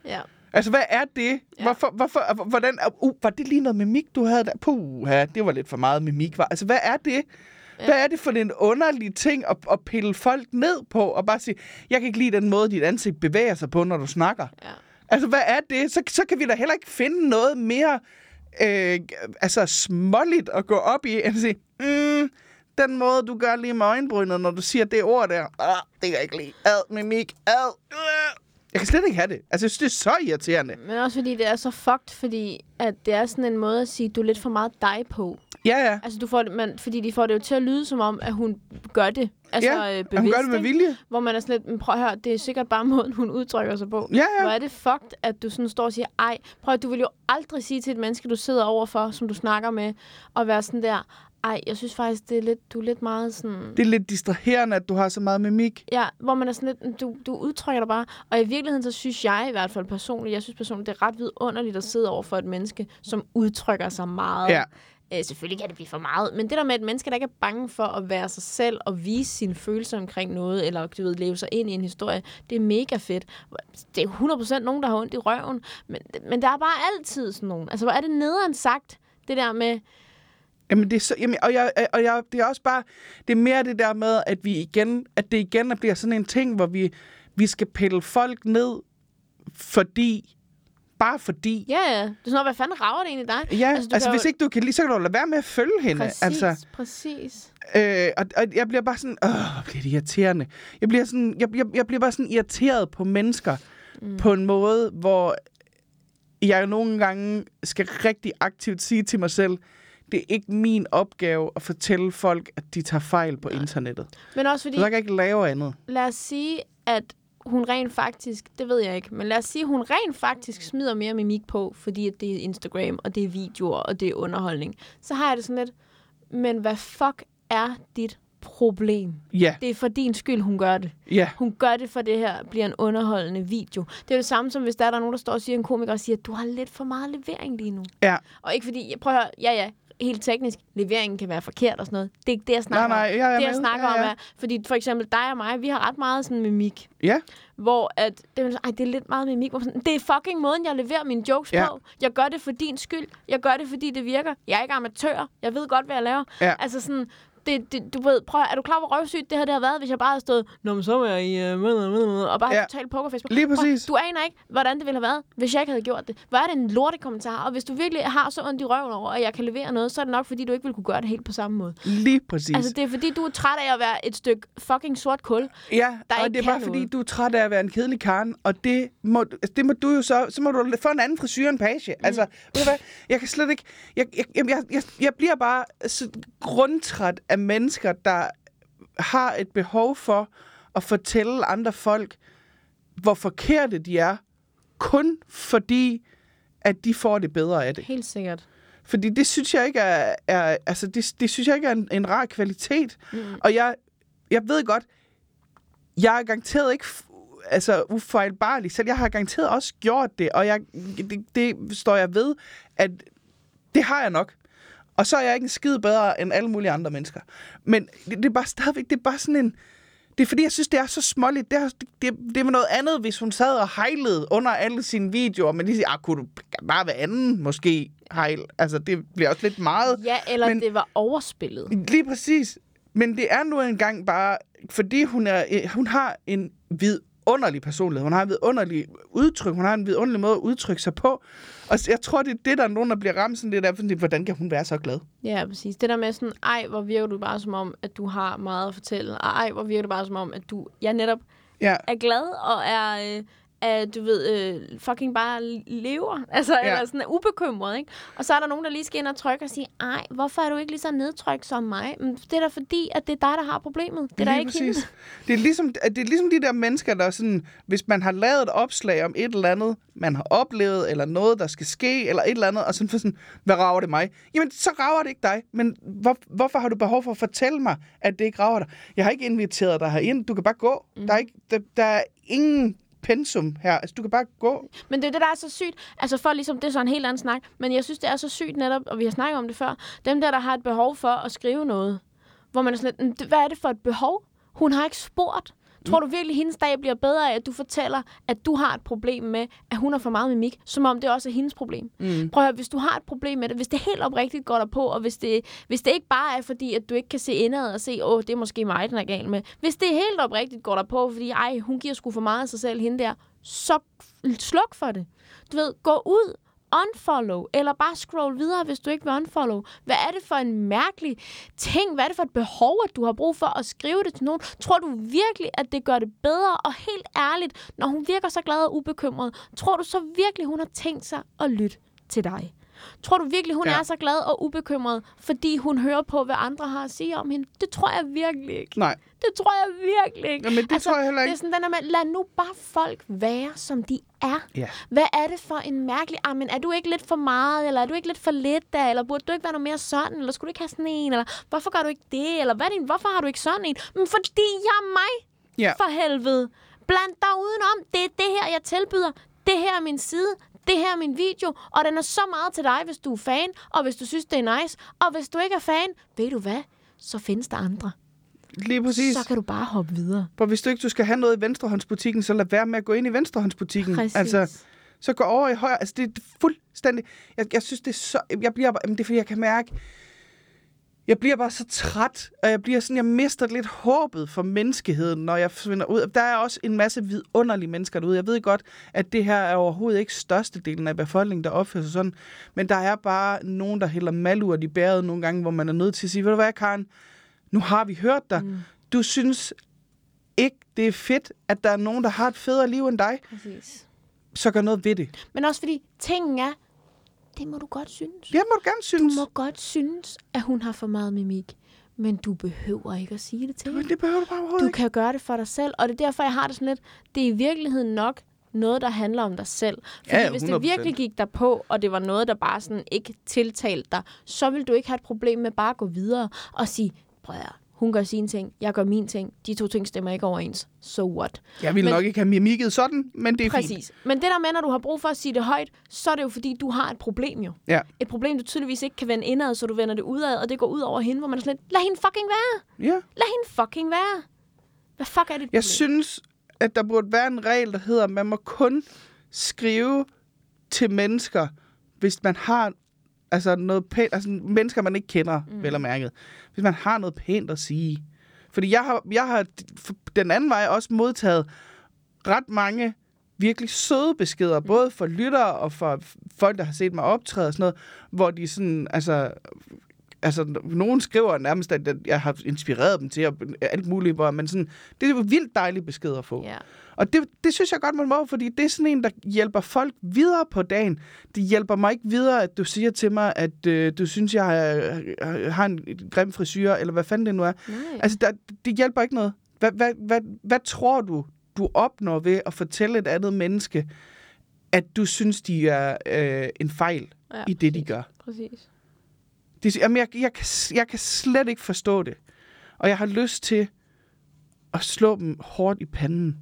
B: Ja.
A: Altså, hvad er det?
B: Ja.
A: Ja. Hvorfor, hvorfor, hvordan, uh, var det lige noget mimik, du havde der? Puh, ja, det var lidt for meget mimik. Var. Altså, hvad er det? Ja. Hvad er det for en underlig ting at, at pille folk ned på og bare sige, jeg kan ikke lide den måde, dit ansigt bevæger sig på, når du snakker?
B: Ja.
A: Altså, hvad er det? Så, så kan vi da heller ikke finde noget mere øh, altså, småligt at gå op i, end at sige, mm, den måde, du gør lige med øjenbrynet, når du siger det ord der, ah, det kan jeg ikke lide. Ad, mimik, ad. Øh. Jeg kan slet ikke have det. Altså, jeg synes, det er så irriterende.
B: Men også fordi det er så fucked, fordi at det er sådan en måde at sige, du er lidt for meget dig på.
A: Ja, ja.
B: Altså, du får det, man, fordi de får det jo til at lyde som om, at hun gør det. Altså,
A: ja,
B: øh,
A: og hun gør det med
B: ikke?
A: vilje.
B: Hvor man er sådan lidt, "Men prøv at høre, det er sikkert bare (laughs) måden, hun udtrykker sig på.
A: Ja, ja.
B: Hvor er det fucked, at du sådan står og siger, ej, prøv at du vil jo aldrig sige til et menneske, du sidder overfor, som du snakker med, og være sådan der, ej, jeg synes faktisk, det er lidt, du er lidt meget sådan...
A: Det er lidt distraherende, at du har så meget mimik.
B: Ja, hvor man er sådan lidt, "Men du, du udtrykker dig bare. Og i virkeligheden, så synes jeg i hvert fald personligt, jeg synes personligt, det er ret vidunderligt at sidde over for et menneske, som udtrykker sig meget.
A: Ja.
B: Øh, selvfølgelig kan det blive for meget, men det der med et menneske, der ikke er bange for at være sig selv og vise sine følelser omkring noget, eller du ved, leve sig ind i en historie, det er mega fedt. Det er 100% nogen, der har ondt i røven, men, men der er bare altid sådan nogen. Altså, hvor er det nederen sagt, det der med,
A: Jamen, det er så, jamen, og jeg, og jeg, det er også bare, det er mere det der med, at vi igen, at det igen bliver sådan en ting, hvor vi, vi skal pille folk ned, fordi, bare fordi.
B: ja, ja, det er sådan noget, hvad fanden rager det egentlig dig?
A: Ja, altså,
B: du
A: altså
B: kan
A: hvis
B: jo-
A: ikke du kan lide, så kan du lade være med at følge hende.
B: Præcis,
A: Altså,
B: præcis.
A: øh, og, og, jeg bliver bare sådan, åh, hvor bliver det irriterende. Jeg bliver, sådan, jeg, jeg, jeg bliver bare sådan irriteret på mennesker mm. på en måde, hvor jeg jo nogle gange skal rigtig aktivt sige til mig selv, det er ikke min opgave at fortælle folk, at de tager fejl på internettet.
B: Men også fordi...
A: Så jeg kan ikke lave andet.
B: lad os sige, at hun rent faktisk, det ved jeg ikke, men lad os sige, at hun rent faktisk smider mere mimik på, fordi at det er Instagram, og det er videoer, og det er underholdning. Så har jeg det sådan lidt, men hvad fuck er dit problem?
A: Ja,
B: Det er for din skyld, hun gør det.
A: ja,
B: Hun gør det, for det her bliver en underholdende video. Det er det samme som, hvis der er der er nogen, der står og siger, en komiker og siger, du har lidt for meget levering lige nu.
A: ja.
B: Og ikke fordi, prøv at høre, ja ja, helt teknisk, leveringen kan være forkert og sådan noget. Det er ikke det, jeg snakker
A: Nej, nej,
B: om.
A: ja, jeg er
B: det, jeg
A: med.
B: snakker
A: Ja, ja.
B: om er, fordi for eksempel dig og mig, vi har ret meget sådan mimik.
A: Ja,
B: Hvor at, det, er, sådan, Ej, det er lidt meget mimik. Hvor man sådan, det er fucking måden, jeg leverer mine jokes
A: Ja.
B: ja. på. Jeg gør det for din skyld. Jeg gør det, fordi det virker. Jeg er ikke amatør. Jeg ved godt, hvad jeg laver.
A: Ja.
B: Altså sådan, det, det, du ved, prøv, at- er du klar, hvor røvsygt det her det har været, hvis jeg bare havde stået, Nå, men så var jeg i, øh, med, med, med, og bare
A: Ja.
B: ja. totalt pokerface på.
A: Lige
B: Prøv,
A: præcis.
B: Du aner ikke, hvordan det ville have været, hvis jeg ikke havde gjort det. Hvor er det en lorte kommentar, og hvis du virkelig har så ondt i røven over, at jeg kan levere noget, så er det nok, fordi du ikke ville kunne gøre det helt på samme måde.
A: lige præcis.
B: Altså, det er fordi, du er træt af at være et stykke fucking sort kul.
A: ja,
B: der
A: og
B: ikke
A: det er
B: kan
A: bare fordi,
B: noget.
A: du er træt af at være en kedelig karn, og det må, du- altså, det må du jo så, så må du få en anden frisyr end page.
B: Mm.
A: Altså, ved du hvad, jeg kan slet ikke, jeg, jeg, jamen, jeg, jeg, jeg bliver bare så grundtræt af mennesker, der har et behov for at fortælle andre folk, hvor forkerte de er, kun fordi, at de får det bedre af det.
B: Helt sikkert.
A: Fordi det synes jeg ikke er, er altså det, det synes jeg ikke er en, en rar kvalitet. Mm. Og jeg, jeg ved godt, jeg er garanteret ikke f- altså ufejlbarlig, selv jeg har garanteret også gjort det, og jeg, det, det står jeg ved, at det har jeg nok. Og så er jeg ikke en skid bedre end alle mulige andre mennesker. Men det, det er bare stadigvæk, det er bare sådan en... Det er fordi, jeg synes, det er så småligt. Det er, det, det var noget andet, hvis hun sad og hejlede under alle sine videoer, men lige siger, ah, kunne du bare være anden måske hejl? Altså, det bliver også lidt meget.
B: Ja, eller
A: Men-
B: men... det var overspillet.
A: Lige præcis. Men det er nu engang bare, fordi hun, er, øh, hun har en vidunderlig personlighed. Hun har en vidunderlig udtryk. Hun har en vidunderlig måde at udtrykke sig på. Og så- jeg tror, det er det, der er nogen, der bliver ramt sådan lidt af, fordi, hvordan kan hun være så glad?
B: Ja, præcis. Det der med sådan, ej, hvor virker du bare som om, at du har meget at fortælle. Og ej, hvor virker du bare som om, at du jeg netop
A: Ja,
B: er glad og er, øh, er du ved, øh, fucking bare lever. (laughs) Altså,
A: Ja.
B: ja. eller sådan er ubekymret, ikke? Og så er der nogen, der lige skal ind og trykke og sige, ej, hvorfor er du ikke lige så nedtrykt som mig? Men det er da fordi, at det er dig, der har problemet. Det er da
A: lige
B: ikke hende.
A: Det er, ligesom, det er ligesom de der mennesker, der er sådan, hvis man har lavet et opslag om et eller andet, man har oplevet, eller noget, der skal ske, eller et eller andet, og sådan, for sådan hvad rager det mig? Jamen, så rager det ikke dig, men hvor, hvorfor har du behov for at fortælle mig, at det ikke rager dig? Jeg har ikke inviteret dig herind, du kan bare gå. Mm. Der, er ikke, der, der er ingen pensum her, altså du kan bare gå.
B: Men det er det, der er så sygt. Altså for ligesom, det er så en helt anden snak. Men jeg synes, det er så sygt netop, og vi har snakket om det før. Dem der, der har et behov for at skrive noget. Hvor man er sådan lidt, "Mm, det- hvad er det for et behov? Hun har ikke spurgt. Tror du virkelig, hendes dag bliver bedre af, at du fortæller, at du har et problem med, at hun har for meget mimik, som om det også er hendes problem? Mm. Prøv at høre, hvis du har et problem med det, hvis det helt oprigtigt går dig på, og hvis det, hvis det ikke bare er fordi, at du ikke kan se indad og se, åh, det er måske mig, den er gal med. Hvis det helt oprigtigt går dig på, fordi ej, hun giver sgu for meget af sig selv, hende der, så sluk for det. Du ved, gå ud, unfollow, eller bare scroll videre, hvis du ikke vil unfollow. Hvad er det for en mærkelig ting? Hvad er det for et behov, at du har brug for at skrive det til nogen? Tror du virkelig, at det gør det bedre? Og helt ærligt, når hun virker så glad og ubekymret, tror du så virkelig, hun har tænkt sig at lytte til dig? Tror du virkelig, hun
A: Ja.
B: ja. er så glad og ubekymret, fordi hun hører på, hvad andre har at sige om hende? Det tror jeg virkelig ikke.
A: Nej,
B: Det tror jeg virkelig ikke. Altså,
A: Jamen, det tror jeg heller ikke.
B: Det er sådan den der med, lad nu bare folk være, som de er.
A: Ja.
B: Hvad er det for en mærkelig... Ah, men er du ikke lidt for meget, eller er du ikke lidt for lidt da, eller burde du ikke være noget mere sådan, eller skulle du ikke have sådan en, eller hvorfor gør du ikke det, eller hvad er din, hvorfor har du ikke sådan en? Men fordi jeg er mig,
A: Ja.
B: for helvede. Bland dig udenom. Det er det her, jeg tilbyder. Det her er min side. det her er min video, og den er så meget til dig, hvis du er fan, og hvis du synes, det er nice. Og hvis du ikke er fan, ved du hvad, så findes der andre.
A: Lige præcis.
B: Så kan du bare hoppe videre.
A: For hvis du ikke du skal have noget i venstrehåndsbutikken, så lad være med at gå ind i venstrehåndsbutikken.
B: Præcis.
A: Altså, så gå over i højre. Altså, det er fuldstændig... Jeg, jeg synes, det er så... Jeg bliver bare... Jamen, det er, fordi jeg kan mærke... Jeg bliver bare så træt, og jeg bliver sådan, jeg mister lidt håbet for menneskeheden, når jeg forsvinder ud. Der er også en masse vidunderlige mennesker derude. Jeg ved godt, at det her er overhovedet ikke størstedelen af befolkningen, der opfører sig sådan. Men der er bare nogen, der hælder malurt i bæret nogle gange, hvor man er nødt til at sige, ved du hvad, Karen, nu har vi hørt dig. Mm. Du synes ikke, det er fedt, at der er nogen, der har et federe liv end dig.
B: Præcis.
A: Så gør noget ved det.
B: Men også fordi, tingen er, det må du godt synes.
A: Det må du gerne
B: Du
A: synes.
B: må godt synes, at hun har for meget mimik. Men du behøver ikke at sige det til hende.
A: Men det behøver du bare overhovedet
B: Du
A: ikke.
B: kan gøre det for dig selv, og det er derfor, jeg har det sådan lidt, det er i virkeligheden nok noget, der handler om dig selv. Fordi
A: Ja,
B: hvis det
A: 100%.
B: virkelig gik dig på, og det var noget, der bare sådan ikke tiltalte dig, så vil du ikke have et problem med bare at gå videre og sige, prøv at høre, hun gør sine ting, jeg gør min ting, de to ting stemmer ikke overens, so what?
A: Jeg ville
B: Men-
A: nok ikke have mimikket sådan, men det er fint.
B: Præcis. Men det der med, når du har brug for at sige det højt, så er det jo fordi, du har et problem jo.
A: Ja,
B: Et problem, du tydeligvis ikke kan vende indad, så du vender det udad, og det går ud over hende, hvor man er sådan lidt, lad hende fucking være!
A: ja.
B: Lad hende fucking være! Hvad fuck er det?
A: Jeg synes, at der burde være en regel, der hedder, at man må kun skrive til mennesker, hvis man har altså noget pænt, altså mennesker, man ikke kender, mm. vel og mærket. Hvis man har noget pænt at sige. Fordi jeg har, jeg har d- den anden vej også modtaget ret mange virkelig søde beskeder, både for lyttere og for folk, der har set mig optræde og sådan noget, hvor de sådan, altså, altså nogen skriver nærmest, at at jeg har inspireret dem til at, alt muligt, hvor man sådan, det er jo vildt dejlige beskeder at få.
B: Ja.
A: Og det, det synes jeg godt, man må, fordi det er sådan en, der hjælper folk videre på dagen. Det hjælper mig ikke videre, at du siger til mig, at øh, du synes, jeg har, har en grim frisyr, eller hvad fanden det nu er.
B: Nej.
A: Altså, der, det hjælper ikke noget. Hvad, hvad, hvad, hvad tror du, du opnår ved at fortælle et andet menneske, at du synes, de er øh, en fejl
B: Ja,
A: ja, i det, de gør?
B: Præcis.
A: Det, jamen, jeg, jeg, kan, s- jeg kan slet ikke forstå det. Og jeg har lyst til at slå dem hårdt i panden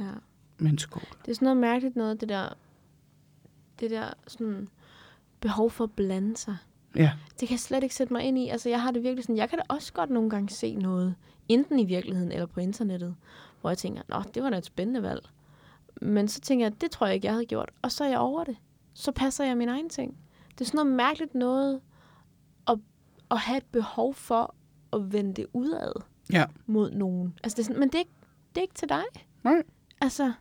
B: Ja.
A: med en skål.
B: Det er sådan noget mærkeligt noget, det der, det der sådan, behov for at blande sig.
A: Ja.
B: Det kan jeg slet ikke sætte mig ind i. Altså, jeg har det virkelig sådan, jeg kan da også godt nogle gange se noget, enten i virkeligheden eller på internettet, hvor jeg tænker, nå, det var da et spændende valg. Men så tænker jeg, det tror jeg ikke, jeg havde gjort, og så er jeg over det. Så passer jeg min egen ting. Det er sådan noget mærkeligt noget at, at have et behov for at vende det udad
A: Ja.
B: mod nogen. Altså, det er sådan, men det er, ikke, det er ikke til dig.
A: Nej.
B: Altså,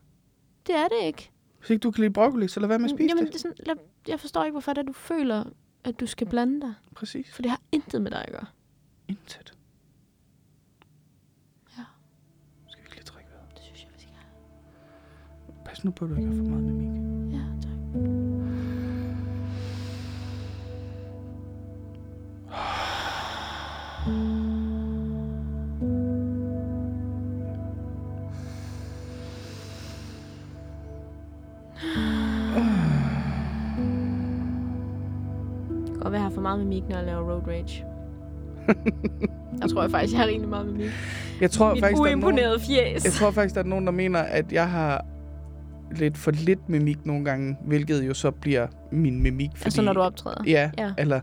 B: det er det ikke.
A: Hvis ikke du kan lide broccoli, så lad være med at spise
B: Mm, Jamen, det
A: det.
B: er sådan, lad, jeg forstår ikke, hvorfor det er, du føler, at du skal blande dig.
A: Præcis.
B: For det har intet med dig at gøre.
A: Intet.
B: Ja.
A: Skal vi ikke lige drikke vejret?
B: Det synes jeg, vi skal have.
A: Pas nu på, at du ikke har for meget mimik.
B: Ja, tak. Det kan godt være, jeg har for meget med Mik, når jeg laver
A: (laughs)
B: road rage. jeg tror jeg faktisk, jeg har rigtig meget med Mik.
A: Jeg tror, faktisk,
B: Mit
A: der er nogen,
B: uimponerede fjes.
A: jeg tror faktisk, der er nogen, der mener, at jeg har lidt for lidt mimik nogle gange, hvilket jo så bliver min mimik. Fordi,
B: Altså, når du optræder.
A: Ja,
B: Ja.
A: ja. Eller,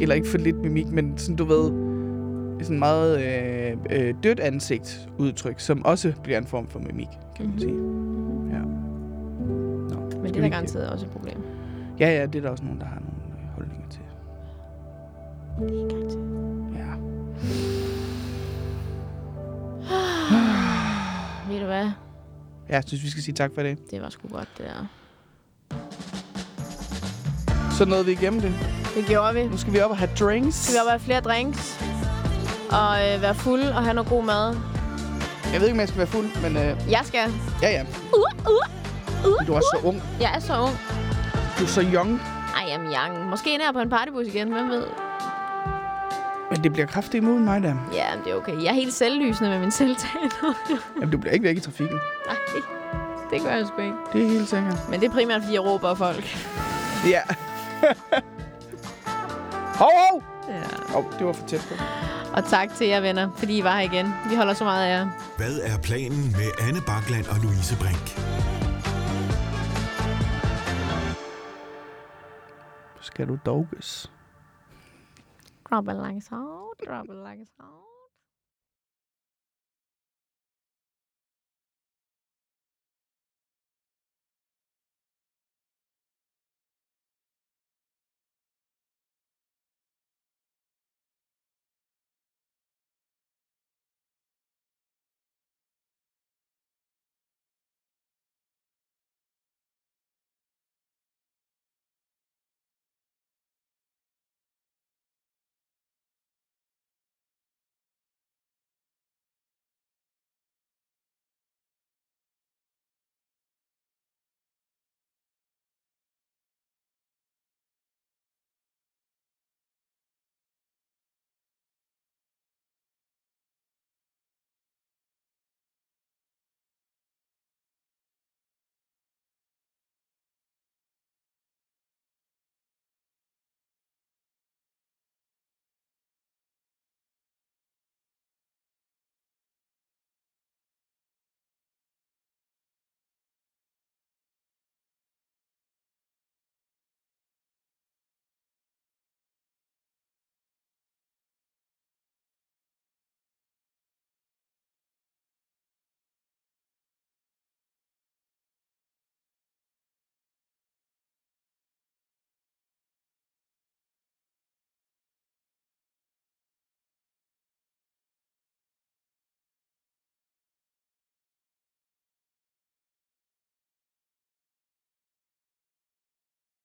A: eller ikke for lidt mimik, men sådan, du ved, sådan meget øh, øh, dødt ansigtsudtryk, som også bliver en form for mimik, kan
B: Mhm.
A: man sige. Ja. Nå, skal
B: Men det
A: vi
B: er da
A: ikke-
B: garanteret også et problem.
A: Ja, ja, det er der også nogen, der har nogle øh, holdninger til.
B: Det er garanteret.
A: Ja.
B: Ved du hvad?
A: Ja, jeg synes, vi skal sige tak for i dag.
B: Det var sgu godt, det der.
A: Så nåede vi igennem det.
B: Det gjorde vi.
A: Nu skal vi op og have drinks.
B: Skal vi op og have flere drinks? Og øh, være fuld og have noget god mad?
A: Jeg ved ikke, om jeg skal være fuld, men øh,
B: Jeg skal.
A: ja, ja.
B: Uh, uh, uh,
A: Du er så ung.
B: Jeg er så ung.
A: Du er så young.
B: Ej, jeg er young. Måske ender jeg på en partybus igen, hvem ved?
A: Men det bliver kraftigt imod mig, der.
B: Ja, men det er okay. Jeg er helt selvlysende med min selvtaler.
A: Jamen, du bliver ikke væk i trafikken.
B: (laughs) Nej, det gør jeg sgu ikke.
A: Det er helt sikkert.
B: Men det er primært, fordi jeg råber af folk.
A: Ja. (laughs) hov, hov!
B: Ja.
A: Hov, det var for tæt på.
B: Og tak til jer venner, fordi I var her igen. Vi holder så meget af jer.
C: Hvad er planen med Anne Bakland og Louise Brink?
A: skal du dogges.
B: Drop it like so, drop it like so.